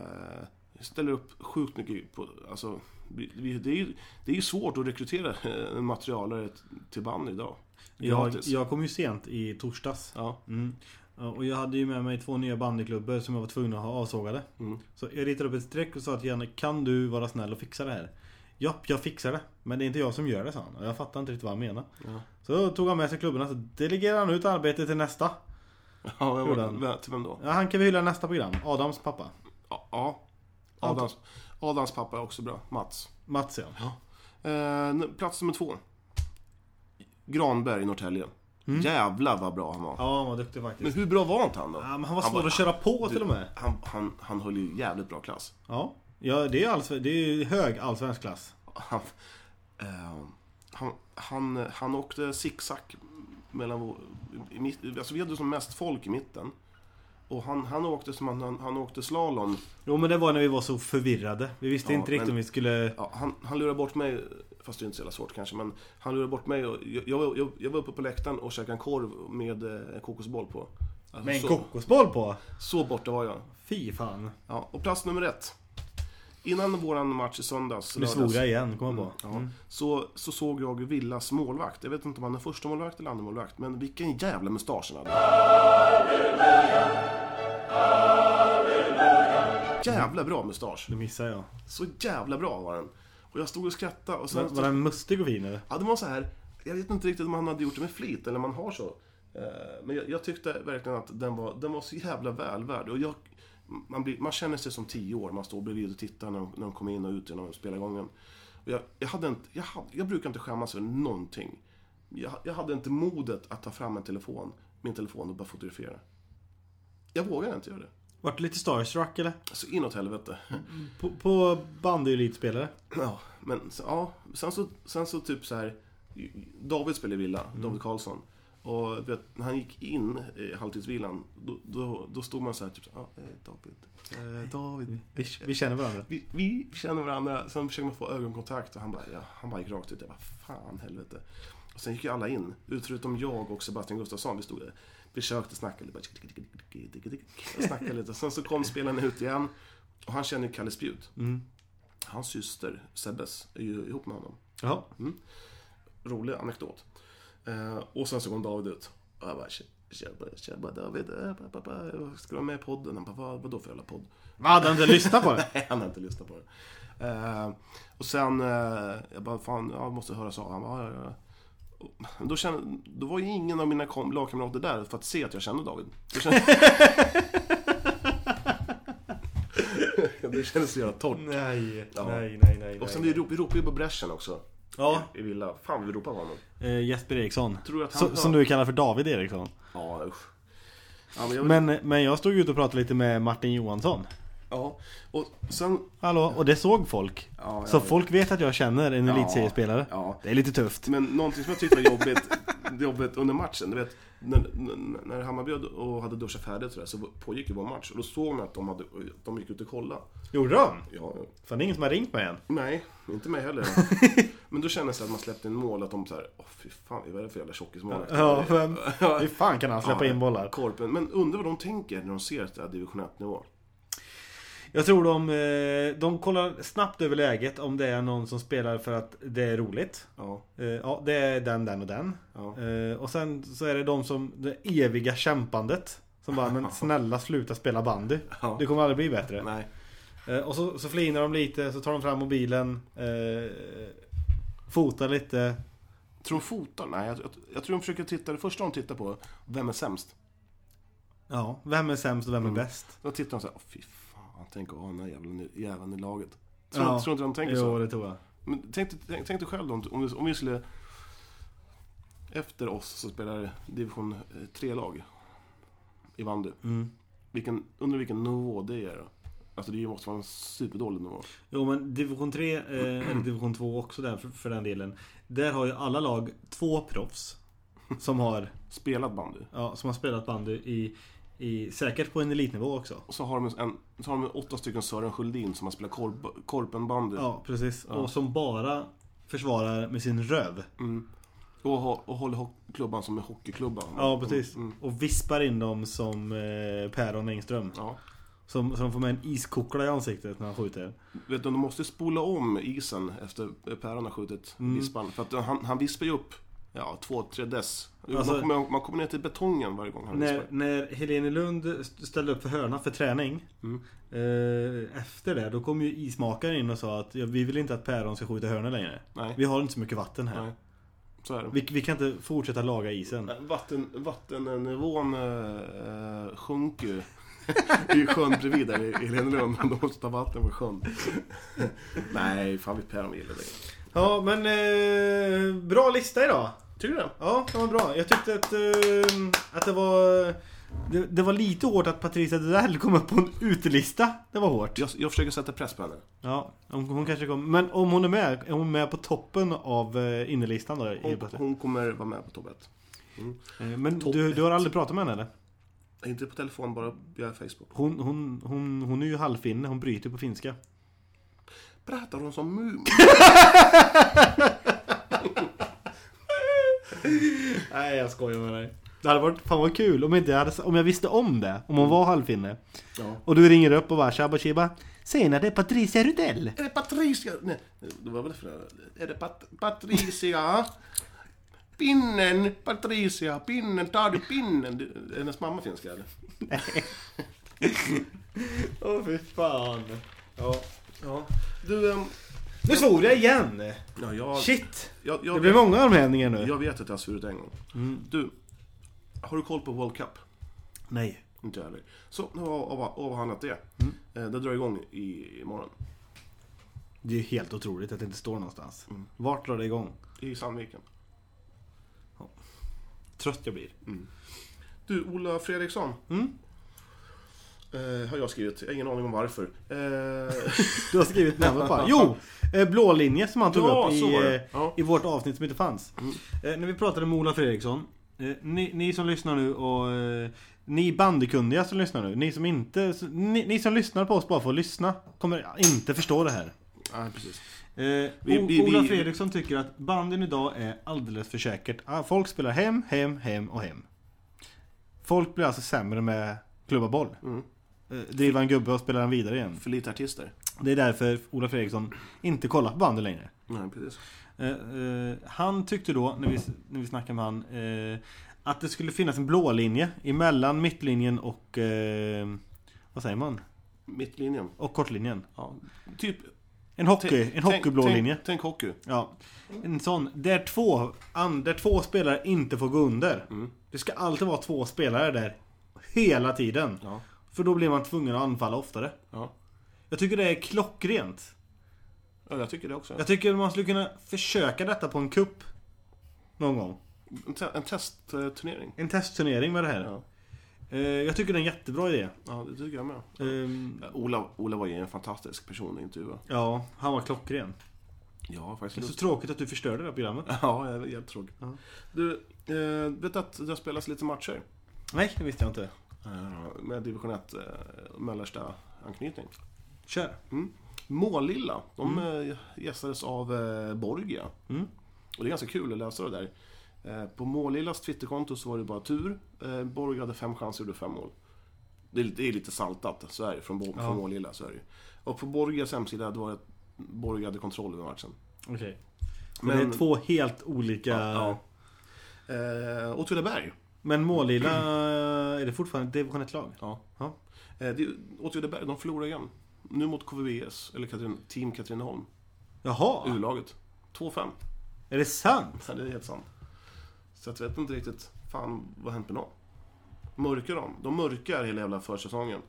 ställer upp sjukt mycket. På, alltså, vi- vi- det, är ju, det är ju svårt att rekrytera eh, en materialare t- till band idag. Jag, Gratis. jag kom ju sent i torsdags. Ja. Mm. Ja, Och jag hade ju med mig två nya bandyklubbor som jag Mm. var tvungen att ha avsågade. Så jag ritade upp ett streck och sa till Janne, kan du vara snäll och fixa det här? Japp, jag fixar det. Men det är inte jag som gör det, sa han. Och jag fattar inte riktigt vad han menar. Så tog han med sig klubborna så delegerade han ut arbetet till nästa. Ja, jag Gjorde var, han. vem- till vem då? Ja, han kan vi hylla i nästa program. Adams pappa. Ja. ja. Adams, Adams pappa är också bra. Mats. Mats ja. Eh, nu- plats nummer två. Granberg i Norrtälje. Mm. Jävlar vad bra han var. Ja, han var duktig Men faktiskt. hur bra var inte han då? Ja, men han var svår att köra på till och med. Han, han, han höll ju jävligt bra klass. Ja, ja det är ju allsve- det är ju hög allsvensk klass. Han, eh, han, han, han åkte zigzag mellan vår, i mitt, Alltså vi hade som mest folk i mitten. Och han, han åkte som han, han, han åkte slalom. Jo men det var när vi var så förvirrade. Vi visste Ja, inte riktigt men- om vi skulle... Ja, han, han lurade bort mig, fast det är inte så jävla svårt kanske, men han lurade bort mig och jag, jag, jag, jag var uppe på läktaren och käkade en korv med eh, en kokosboll på. Alltså, Med en så, kokosboll på! så borta var jag. Fy fan. Ja, och plats nummer ett. Innan våran match i söndags, Nu svor jag igen, kom jag på. Mm. ja, så, så såg jag Villas målvakt. Jag vet inte om han är första målvakt eller andra målvakt, men vilken jävla mustasch han hade. Jävla bra mustasch. Det missade jag. Så jävla bra var den. Och jag stod och skrattade och sen... Var, var den mustig och fin eller? Ja, det var så här. Jag vet inte riktigt om han hade gjort det med flit eller om han har så. Eh, Men jag, jag tyckte verkligen att den var, den var så jävla välvärd. Och jag, man, blir, man känner sig som tio år. Man står bredvid och tittar när de, när de kommer in och ut genom spelagången. Och jag, jag, hade inte, jag, hade, jag brukar inte skämmas över någonting. Jag, jag hade inte modet att ta fram en telefon, min telefon och bara fotografera. Jag vågade inte göra det. Vart du lite starstruck eller? Så inåt helvete. På, på bandy-elitspelare? Ja, men så- ja, sen så, sen så typ så här David spelade i Villa, David Karlsson. Och vet, när han gick in i halvtidsvilan, då, då, då stod man så här typ så här, "Ja, eh, David, eh, David. Mm. Vi, vi känner varandra. Vi, vi känner varandra, sen försöker man få ögonkontakt och han bara, ja, han bara gick rakt ut. Jag bara, fan helvete. Och sen gick ju alla in, utom jag och Sebastian Gustafsson. Vi stod där, försökte snacka lite, bara, tick, tick, tick, tick, tick, tick, tick, snacka lite. Sen så kom spelarna ut igen och han känner ju Kalle Spjut. Hans syster, Sebbes, är ju ihop med honom Jaha. rolig anekdot. Eh, och sen så kom David ut. Och jag bara, "Tje- tjabba, tjabba David, eh, ba, ba, ba, jag ska vara med i podden. Han bara, vad, vadå för jävla podd? Va, hade han Ah, inte lyssnat på det? Nej, han har inte lyssnat på det. Eh, och sen, eh, jag bara, fan, jag måste höras av. Han bara, ja, ja, ja. Och Då, kände, då var ju ingen av mina kom, lagkamrater där för att se att jag kände David. Det kändes, det kändes så jävla torrt. Nej, Ja. nej, nej, nej. Och sen vi nej. ropade vi ropade ju på Breschen också. Ja. I Villa. Fan, vi ropade på honom. Eh, Jesper Eriksson. Tror du att han Så, hör- som du kallar för David Eriksson. Ja, usch. Ja, men jag, Men, men jag stod ute och pratade lite med Martin Johansson. Ja, och sen... Hallå, och det såg folk. Ja, jag så vet. folk vet att jag känner en elitseriespelare. ja. Det är lite tufft. Men någonting som jag tyckte var jobbigt, jobbigt under matchen, du vet. När, när- när Hammarby och hade duschat färdigt och sådär, så pågick ju vår match. Och då såg man att de, hade, de gick ut och kollade. Gjorde de? Ja, Fan, det är ingen som har ringt mig än. nej, inte mig heller. Men då kändes det att man släppte in mål, att de såhär, åh fy fan, vad är det för jävla tjockismål? Ja, vem? Hur fan kan han släppa in bollar? Korpen. Men undrar vad de tänker när de ser att det är division 1-nivå. Jag tror de, eh, de kollar snabbt över läget om det är någon som spelar för att det är roligt. Ja, Eh, Ja, det är den, den och den. ja. Eh, Och sen så är det de som, det eviga kämpandet. Som bara, men snälla sluta spela bandy. Ja. Det kommer aldrig bli bättre. Nej. Eh, Och så, så flinar de lite, så tar de fram mobilen. Eh, fotar lite. Tror de fotar? Nej, jag, jag, jag tror de försöker titta, det första de tittar på, vem är sämst? Ja, vem är sämst och vem är Mm. bäst? Då tittar de så här, åh fy fan, tänk att ha den här jävla jäveln i laget. Tror, tror inte de tänker jo, så? det tror jag. Men tänk, dig- tänk, tänk dig själv då, om, om, vi, om vi skulle... Efter oss så spelar division 3-lag i bandy. Mm. Vilken, under vilken nivå det är då? Alltså det måste vara en superdålig nivå. Jo, men division 3, eh, eller division 2 också där för, för den delen. Där har ju alla lag två proffs. Som har, Spelat bandy. ja, som har spelat bandy i, i, säkert på en elitnivå också. Och så har de, en, så har de åtta stycken Sören Sköldin som har spelat korp, korpenbandy. Ja, precis. Och som bara försvarar med sin röv. Och, ha- och håller ho- klubban som en hockeyklubba. Ja, precis. Mm. Och vispar in dem som eh, Päron Engström. Ja. Som, som får med en iskokla i ansiktet när han skjuter. Vet du, de Mm. måste spola om isen efter Päron har skjutit vispan. För att han, han vispar ju upp ja, två, tre dess. Jo, Alltså- man, kommer, man kommer ner till betongen varje gång han vill När, sparka. när Helene Lund st- ställde upp för hörna för träning. Eh, efter det, då kom ju ismakaren in och sa att ja, vi vill inte att päron ska skjuta hörnor längre. Nej. Vi har inte så mycket vatten här. Nej. Så är det. Vi, vi kan inte fortsätta laga isen. Vatten, vattennivån eh, eh, sjunker ju. I sjön bredvid där i i Helenelund. De måste ta vatten från sjön. Nej, fan vet Per om vi gillar det. Ja, men eh, bra lista idag. Tycker du det? Ja, det var bra. Jag tyckte att, eh, att det var... Det, det var lite hårt att Patricia Dedell kom upp på en utelista. Det var hårt. Jag, jag försöker sätta press på henne. Ja, hon, hon kanske kom. Men om hon är med, är hon med på toppen av eh, innerlistan då? helt Hon, plötsligt? hon kommer vara med på topp ett. Eh, Men du, du har aldrig pratat med henne eller? Inte på telefon, bara via Facebook. Hon, hon, hon, hon är ju halvfinne, hon bryter på finska. Pratar hon som Mumin? Nej, jag skojar med dig. Det hade varit fan vad kul om, inte jag, hade, om jag visste om det. Om hon var halvfinne. Ja. Och du ringer upp och bara tjabba tjibba. Senare det är Patricia Rudell. Är det Patricia? Nej, det var väl för Är det Pat- Patricia? Pinnen, Patricia, pinnen, tar du pinnen? Du- Är hennes mamma finska eller? Åh oh, fy fan. Ja. ja. Du, ehm, Nu svor jag igen! ja, jag, Shit! jag, jag, Det blir många Mm. armhävningar nu. Jag vet att jag har svurit en gång. Du, har du koll på World Cup? Nej. Inte jag heller. Så, nu har jag av- avhandlat det. Mm. Eh, Det drar igång i, imorgon. Det är ju helt otroligt att det inte står någonstans. Vart drar det igång? I Sandviken. Trött jag blir. Du, Ola Fredriksson. Mm. Eh, har jag skrivit. Jag har ingen aning om varför. Eh, Du har skrivit namnet bara. Jo! eh, Blå linje som han tog Ja, upp så var i, det. eh, Ja. Mm. i vårt avsnitt som inte fanns. Eh, När vi pratade med Ola Fredriksson. eh, Ni, ni som lyssnar nu och eh, ni bandykunniga som lyssnar nu. Ni som inte... Ni, ni som lyssnar på oss bara för att lyssna kommer inte förstå det här. nej, precis. Eh, vi- O- vi- Ola vi- Fredriksson tycker att banden idag är alldeles för säkert. Ah, Folk spelar hem, hem, hem och hem. Folk blir alltså sämre med klubba boll. Mm. Eh, driva en gubbe och spela den vidare igen. För lite artister. Det är därför Ola Fredriksson inte kollar på bandy längre. Nej, precis. Eh, eh, han tyckte då, när vi, när vi snackade med han, eh, att det skulle finnas en blå linje emellan mittlinjen och... Eh, vad säger man? Mittlinjen. Och kortlinjen. Typ... En hockey, en tänk- hockeyblå tänk- linje. Tänk hockey. Ja, en sån. Där två, an- där två spelare inte får gå under. Mm. Det ska alltid vara två spelare där. Hela tiden. Ja. För då blir man tvungen att anfalla oftare. Ja. Jag tycker det är klockrent. ja, jag tycker det också. Jag tycker man skulle kunna försöka detta på en kupp Någon gång. En, te- en testturnering. En testturnering med det här. Ja. Eh, Jag tycker det är en jättebra idé. Ja, det tycker jag med. Ehm, Eh, Ola, Ola var ju en fantastisk person att intervjua. Ja, han var klockren. Jag har faktiskt Det är så lust tråkigt att du förstörde det här programmet. Ja, jag är jävligt tråkig. Du, eh, vet du att det har spelats lite matcher? Nej, det visste jag inte. eh, Med division 1, eh, mellersta anknytning. Kör. Målilla, de eh, gästades av eh, Borgia. Mm. Och det är ganska kul att läsa det där. Eh, på Målillas Twitterkonto så var det bara tur. Eh, Borgia hade fem chanser och gjorde fem mål. Det är, lite- det är lite saltat, så är det från, Bo- från Målilla. Så är det. ju. Och på Borgias hemsida, det var att Borgia hade kontroll över matchen. Okej. Men Men- det är två helt olika... Ja. Eh, Åtvidaberg. Men Målilla, eh, är det fortfarande division 1-lag? Ja. Ja. Eh, det är Åtvidaberg, de förlorar igen. Nu mot KVBS, eller Katrin, Team Katrineholm. Jaha, U-laget. 2-5. är det sant? Ja, Det är helt sant. Så jag vet inte riktigt, fan vad har hänt med dem? Mörkar de? De mörkar hela jävla försäsongen.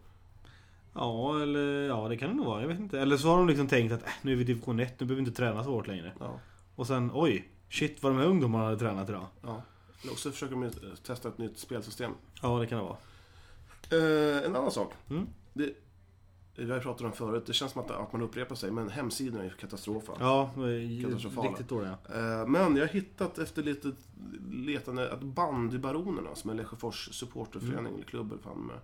Ja, eller ja, det kan det nog vara. Jag vet inte. Eller så har de liksom tänkt att äh, nu är vi i division 1, nu behöver vi inte träna så hårt längre. Ja. Och sen, oj, shit vad de här ungdomarna hade tränat idag. ja. Eller också försöker de ju testa ett nytt spelsystem. Ja, det kan det vara. Eh, en annan sak. Mm. Det, vi har ju pratat om förut, det känns som att, att man upprepar sig, men hemsidorna är ju katastrofen. Ja, det är Katastrofala. riktigt dåliga. Eh, Men jag har hittat efter lite letande att Bandybaronerna, som är Lesjöfors supporterförening Mm. eller klubb eller fan med,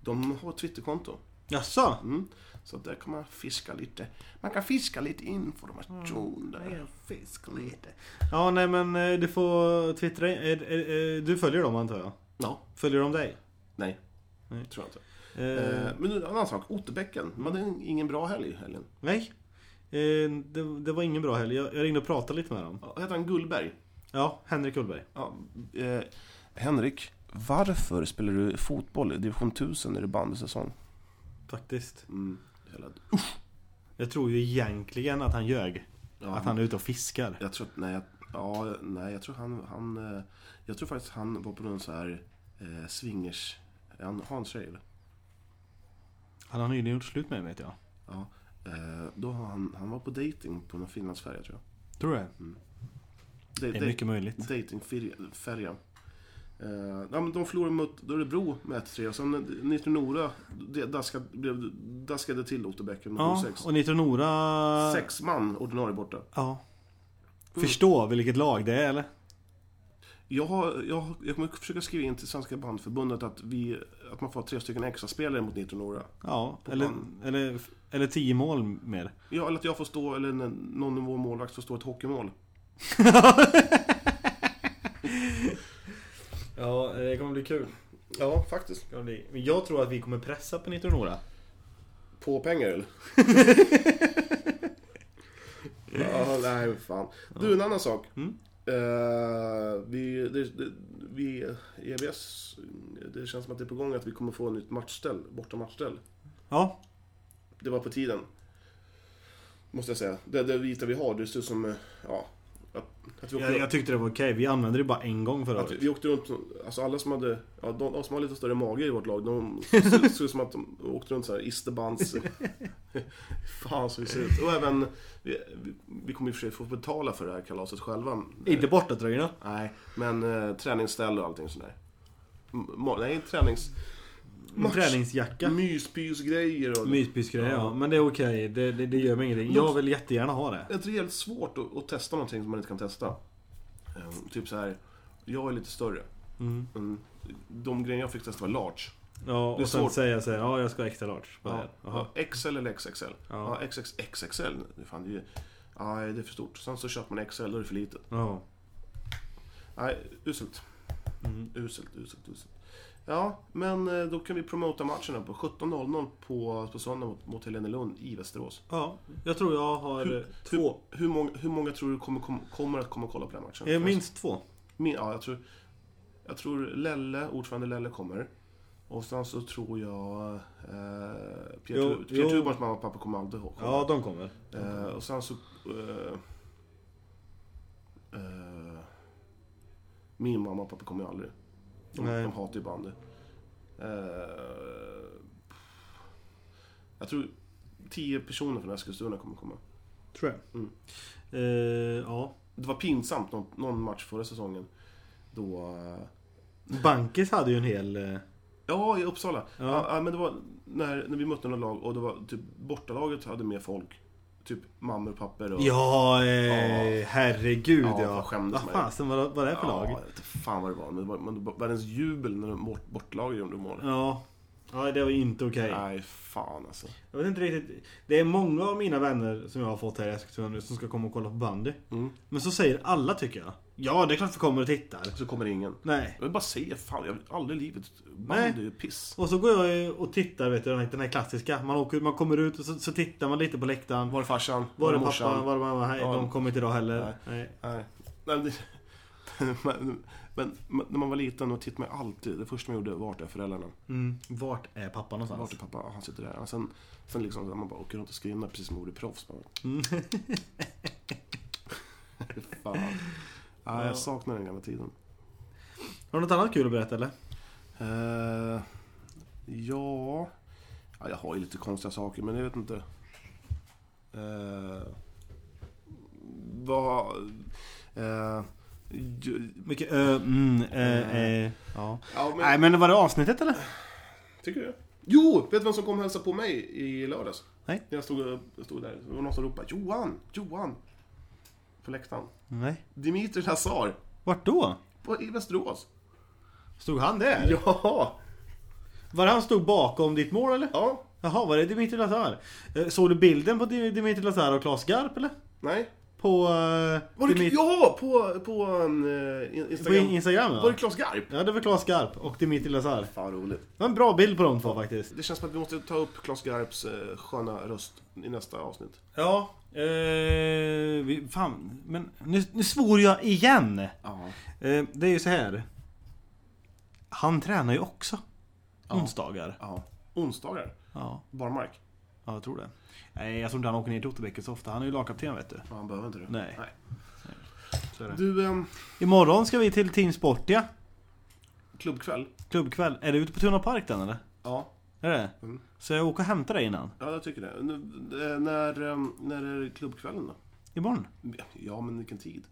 de har ett Twitterkonto. Jaså? Mm. Så där kan man fiska lite. Man kan fiska lite information där. Fisk lite. Ja, nej men eh, du får twittra. in- eh, eh, eh, Du följer dem antar jag? Ja, Följer de dig? nej. Nej. Tror jag inte. Eh, Eh, Men nu, en annan sak, Otterbäcken. Man hade ingen bra helg i helgen. Nej. Eh, det, det var ingen bra helg. Jag, jag ringde och pratade lite med dem. Ja, Heter han Gullberg? Ja, Henrik Ullberg. Ja, eh, Henrik, varför spelar du fotboll i division 1000 när det är bandysäsong? Faktiskt. Mm. Jävla... Jag tror ju egentligen att han ljög. Ja, Att han är ute och fiskar. Jag tror att, nej, jag, ja, nej, jag tror han, han, eh, jag tror faktiskt han var på någon så här eh, swingers, han har en tjej eller? Han har nyligen gjort slut med mig vet jag. Ja. Eh, då har han, han var på dating på någon Finlandsfärja tror jag. Tror du det? Da- Det är da- mycket möjligt. Datingfärja. Eh, ja, men de förlorade mot Örebro med 1-3 och sen eh, Nitro Nora det daskade, blev, daskade till Otterbäcken med Ja, 7-6. och Nitro Nora... Sex man ordinarie borta. Ja. Förstå vilket lag det är eller? Jag, har, jag, har- jag kommer försöka skriva in till Svenska Bandförbundet att, vi, att man får ha tre stycken extra spelare mot Nitro Nora. Ja, eller, eller, eller tio mål mer. Ja, eller att jag får stå, eller n- någon av vår målvakt får stå ett hockeymål. Ja, det kommer bli kul. Ja, faktiskt. Kommer bli. Men jag tror att vi kommer pressa på Nitro Nora. På pengar eller? ja, nej vad fan. Du, en annan sak. Eh, vi, det, det, vi, EBS, det känns som att det är på gång att vi kommer få ett nytt matchställ, borta matchställ. Ja, Det var på tiden. Måste jag säga. Det, det vita vi har, det ser ut som, eh, ja. Att, att vi åker- jag, jag tyckte det var okej. Vi använde det bara en gång förra Att året. vi åkte runt, alltså alla som hade, ja, de, de som hade lite större mage i vårt lag, de såg såg ut som att de åkte runt så här isterbands... Fan så vi ser ut. Och även, vi, vi- vi kommer i och för sig få betala för det här kalaset själva. Inte bortatröjorna. Nej, men eh, träningsställ och allting sådär. M- ma- nej, tränings... En träningsjacka. Myspysgrejer och... Myspysgrej, ja. Men det är okej. Det, det, det gör mig ingenting. Jag vill jättegärna ha det. Jag tror det är jävligt svårt att, att testa någonting som man inte kan testa. Eh, typ så här, jag är lite större. Mm. De grejer jag fick testa var large. Det Ja, är och sen svårt. säga så här, ja jag ska ha extra large. på det Ja, här. Jaha. ja, XL eller XXL? Ja. Ja, XXXXL. Det fan, det är ju... Nej, det är för stort. Sen så köper man XL, då är det för litet. Ja. Nej, uselt. Mm. Uselt, uselt, uselt. Ja, men eh, då kan vi promota matchen här på 17.00 på, på söndag mot, mot Helenelund i Västerås. Ja, jag tror jag har Hur- eh, två. Hur, hur, många, hur många tror du kommer, kom, kommer att komma och kolla på den här matchen? Eh, Minst två. Min, ja, jag tror... Jag tror Lelle, ordförande Lelle kommer. Och sen så tror jag... Eh, Pierre Jo, Tu- Pierre jo. Tuborns mamma och pappa kommer aldrig ihåg. Ja, de kommer. Eh, och sen så... eh, eh, min mamma och pappa kommer ju aldrig. De, Nej. de hatar ju bandy. Eh, jag tror tio personer från Eskilstuna kommer komma. Tror jag. Mm. Eh, ja. Det var pinsamt någon, någon match förra säsongen. Då... eh, Bankis hade ju en hel... eh, ja, i Uppsala. Ja. Ja. ja, men det var när, när vi mötte några lag och det var typ bortalaget hade mer folk. Typ mammor och papper och... Ja, eh, Ja. herregud Ja, ja. jag skämdes Vad mig. fasen var, var det här för Ja, jag lag? vet inte fan vad det var. Men det var, men det var världens jubel när de bort, bortlaget gjorde mål. Ja. Ja, det var inte okej. Nej, fan alltså. Jag vet inte riktigt. Det är många av mina vänner som jag har fått här i Eskilstuna nu som ska komma och kolla på bandy. Mm. Men så säger alla tycker jag. Ja, det är klart vi kommer och tittar. Så kommer ingen. Nej. Jag vill bara säga, fan, jag har aldrig i livet... Bandy är ju piss. Och så går jag ju och tittar, vet du, den här- den här klassiska. Man, åker, man kommer ut och så, så tittar man lite på läktaren. Var är farsan? Var det morsan? pappa, var det mamma? Nej, Ja. de kommer inte idag heller. Nej. Nej. Nej, det... men, men, men när man var liten då tittade man alltid, det första man gjorde, vart är föräldrarna? Mm. Vart är pappa någonstans? Vart är pappa? Ja, han sitter där. Och sen, sen liksom, man bara åker runt och screenar precis som man vore proffs. Bara. Mm. fan. Nej, jag saknar den gamla tiden. Har du något annat kul att berätta eller? Eh, ja... ja, jag har ju lite konstiga saker men jag vet inte. Eh, vad... eh, ju- Mycket ö, mm, ö, Eh. eh, ja. ja, Nej men var det avsnittet eller? Tycker du det? Jo! Vet du vem som kom och hälsade på mig i lördags? Nej. När jag stod, jag stod där. Det var någon som ropade Johan! Johan! På läktaren. Nej. Dimitri Lazar! Vart då? På, I Västerås. Stod han där? Ja! Var det han stod bakom ditt mål eller? Ja. Jaha, var det Dimitri Lazar? Eh, Såg du bilden på Di- Dimitri Lazar och Claes Garp eller? Nej. på... eh, Var det, till mitt- Ja, på, på eh, På Instagram. in- Instagram ja. Var det Klas Garp? Ja, det var Claes Garp och Dimitri Lazar. Fan vad roligt. Det var en bra bild på de två faktiskt. Det känns som att vi måste ta upp Klas Garps eh, sköna röst i nästa avsnitt. Ja. Eh, vi, fan, men nu, nu svor jag igen! Ja. Eh, det är ju så här. Han tränar ju också. Onsdagar. ja. Onsdagar. Ja, Barmark. ja, jag tror det. Nej, jag tror inte han åker ner till Otterbäcken så ofta. Han är ju lagkapten vet du. Ja, han behöver inte det. Nej. Nej. Så är det. Du, ehm, Imorgon ska vi till Team Sportia. klubbkväll. Klubbkväll. Är det ute på Tuna Park den eller? Ja. Är det? Mm. Så jag åker och hämtar dig innan. Ja, jag tycker det. Nu, eh, när, ehm, när är klubbkvällen då? Imorgon. Ja, men vilken tid?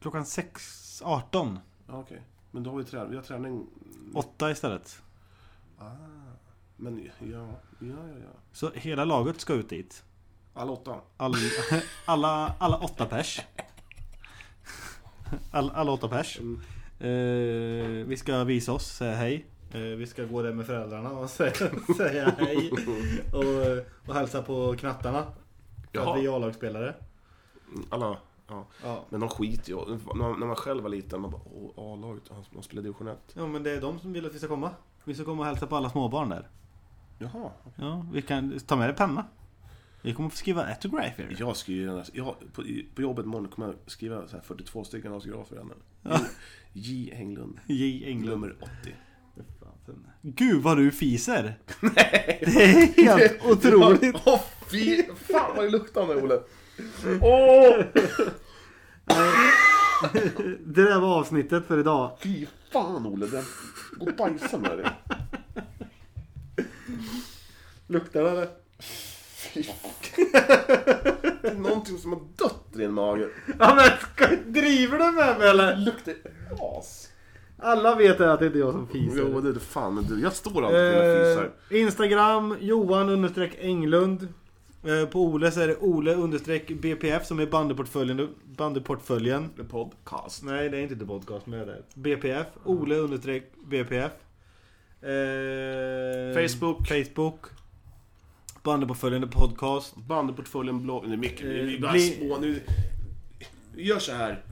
Klockan 6.18. Ja, okej. Men då har vi, trä- vi har träning. 8 istället. Men ja, ja, ja. ja. Så hela laget ska ut dit. Alla åtta. All, alla, alla åtta pers. All, alla åtta pers. Eh, vi ska visa oss, säga hej. Eh, vi ska gå där med föräldrarna och säga, säga hej. Och, och hälsa på knattarna. För Jaha. att vi är A-lagsspelare. Alla, ja. Ja. Men de skiter ju när man, när man själv var liten, man bara åh, A-laget, han- de spelar division 1. ja, men det är de som vill att vi ska komma. Vi ska komma och hälsa på alla småbarn där. Jaha. Ja, vi kan ta med dig penna. Vi kommer få skriva autografer. Jag skriver den här, jag, på, i- på jobbet imorgon kommer jag skriva så här 42 stycken autografer i handen. J. Englund, J. Englund. nummer 80. Gud vad du fiser! Det är helt otroligt! Åh fy fan vad det luktar med Olle. Åh! Det där var avsnittet för idag. Fy fan Olle, den går och bajsa med dig. Luktar det eller? Det är någonting som har dött i din mage. Ja, men, ska- driver du med mig eller? Luktar as. Alla vet att det inte är jag som Jo fiser. det är det fan, men du, jag står alltid när jag fisar. Eh, Instagram, Johan understreck Englund. Eh, på Ole så är det Ole understreck BPF som är bandyportföljen. bandyportföljen. The podcast. Nej, det är inte The Podcast med det. BPF. Ole understreck BPF. Eh, Facebook. Facebook. Bandet på följande podcast. Bandportföljen blogg. Det är mycket, vi- vi Eh, bara bli- spå nu. Gör så här.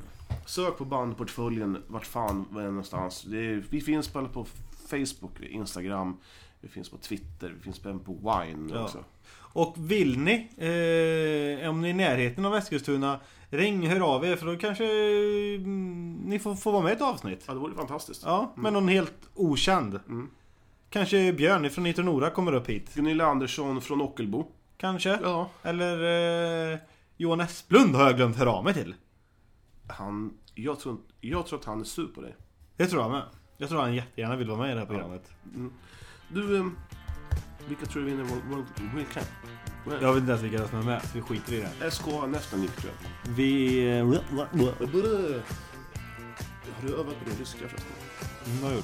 Sök på bandportföljen vart fan vi är någonstans. Det är, vi finns på, på Facebook, Instagram, vi finns på Twitter, vi finns även på Wine Ja. också. Och vill ni, eh, om ni är i närheten av Eskilstuna, ring, hör av er för då kanske eh, ni får, får vara med i ett avsnitt. Ja, det vore fantastiskt. Ja, men någon helt okänd. Mm. Kanske Björn från Nitro Nora kommer upp hit. Gunilla Andersson från Ockelbo. Kanske. Ja. Eller eh, Johan Esplund har jag glömt höra av mig till. Han, jag, tror, inte- jag tror att han är sur på dig. Det tror jag med. Jag tror han jättegärna vill vara med i det här programmet. Du, ehm, vilka tror du vinner World, World, World Cup? Jag vet inte ens vilka som är med, så vi skiter i det. SK nästan gick tror jag. Vi... eh, Har du övat på din ryska förresten? Mm, vad har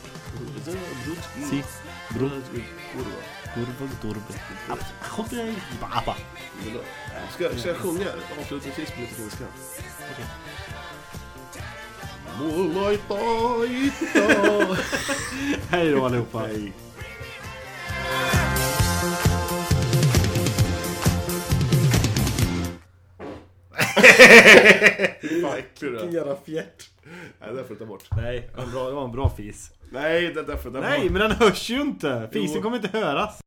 jag gjort? Si, bro, kurva, turbe. Hoppej, baba. Ska, ska jag sjunga avslutningsvis på lite finska? Okej. Hej då allihopa. Vilken jävla fjärt. Nej, det där får du ta bort. Nej, det var en bra, det var en bra fis. Nej, det där får du ta bort. Nej, men den hörs ju inte! Fisen Jo. kommer inte höras.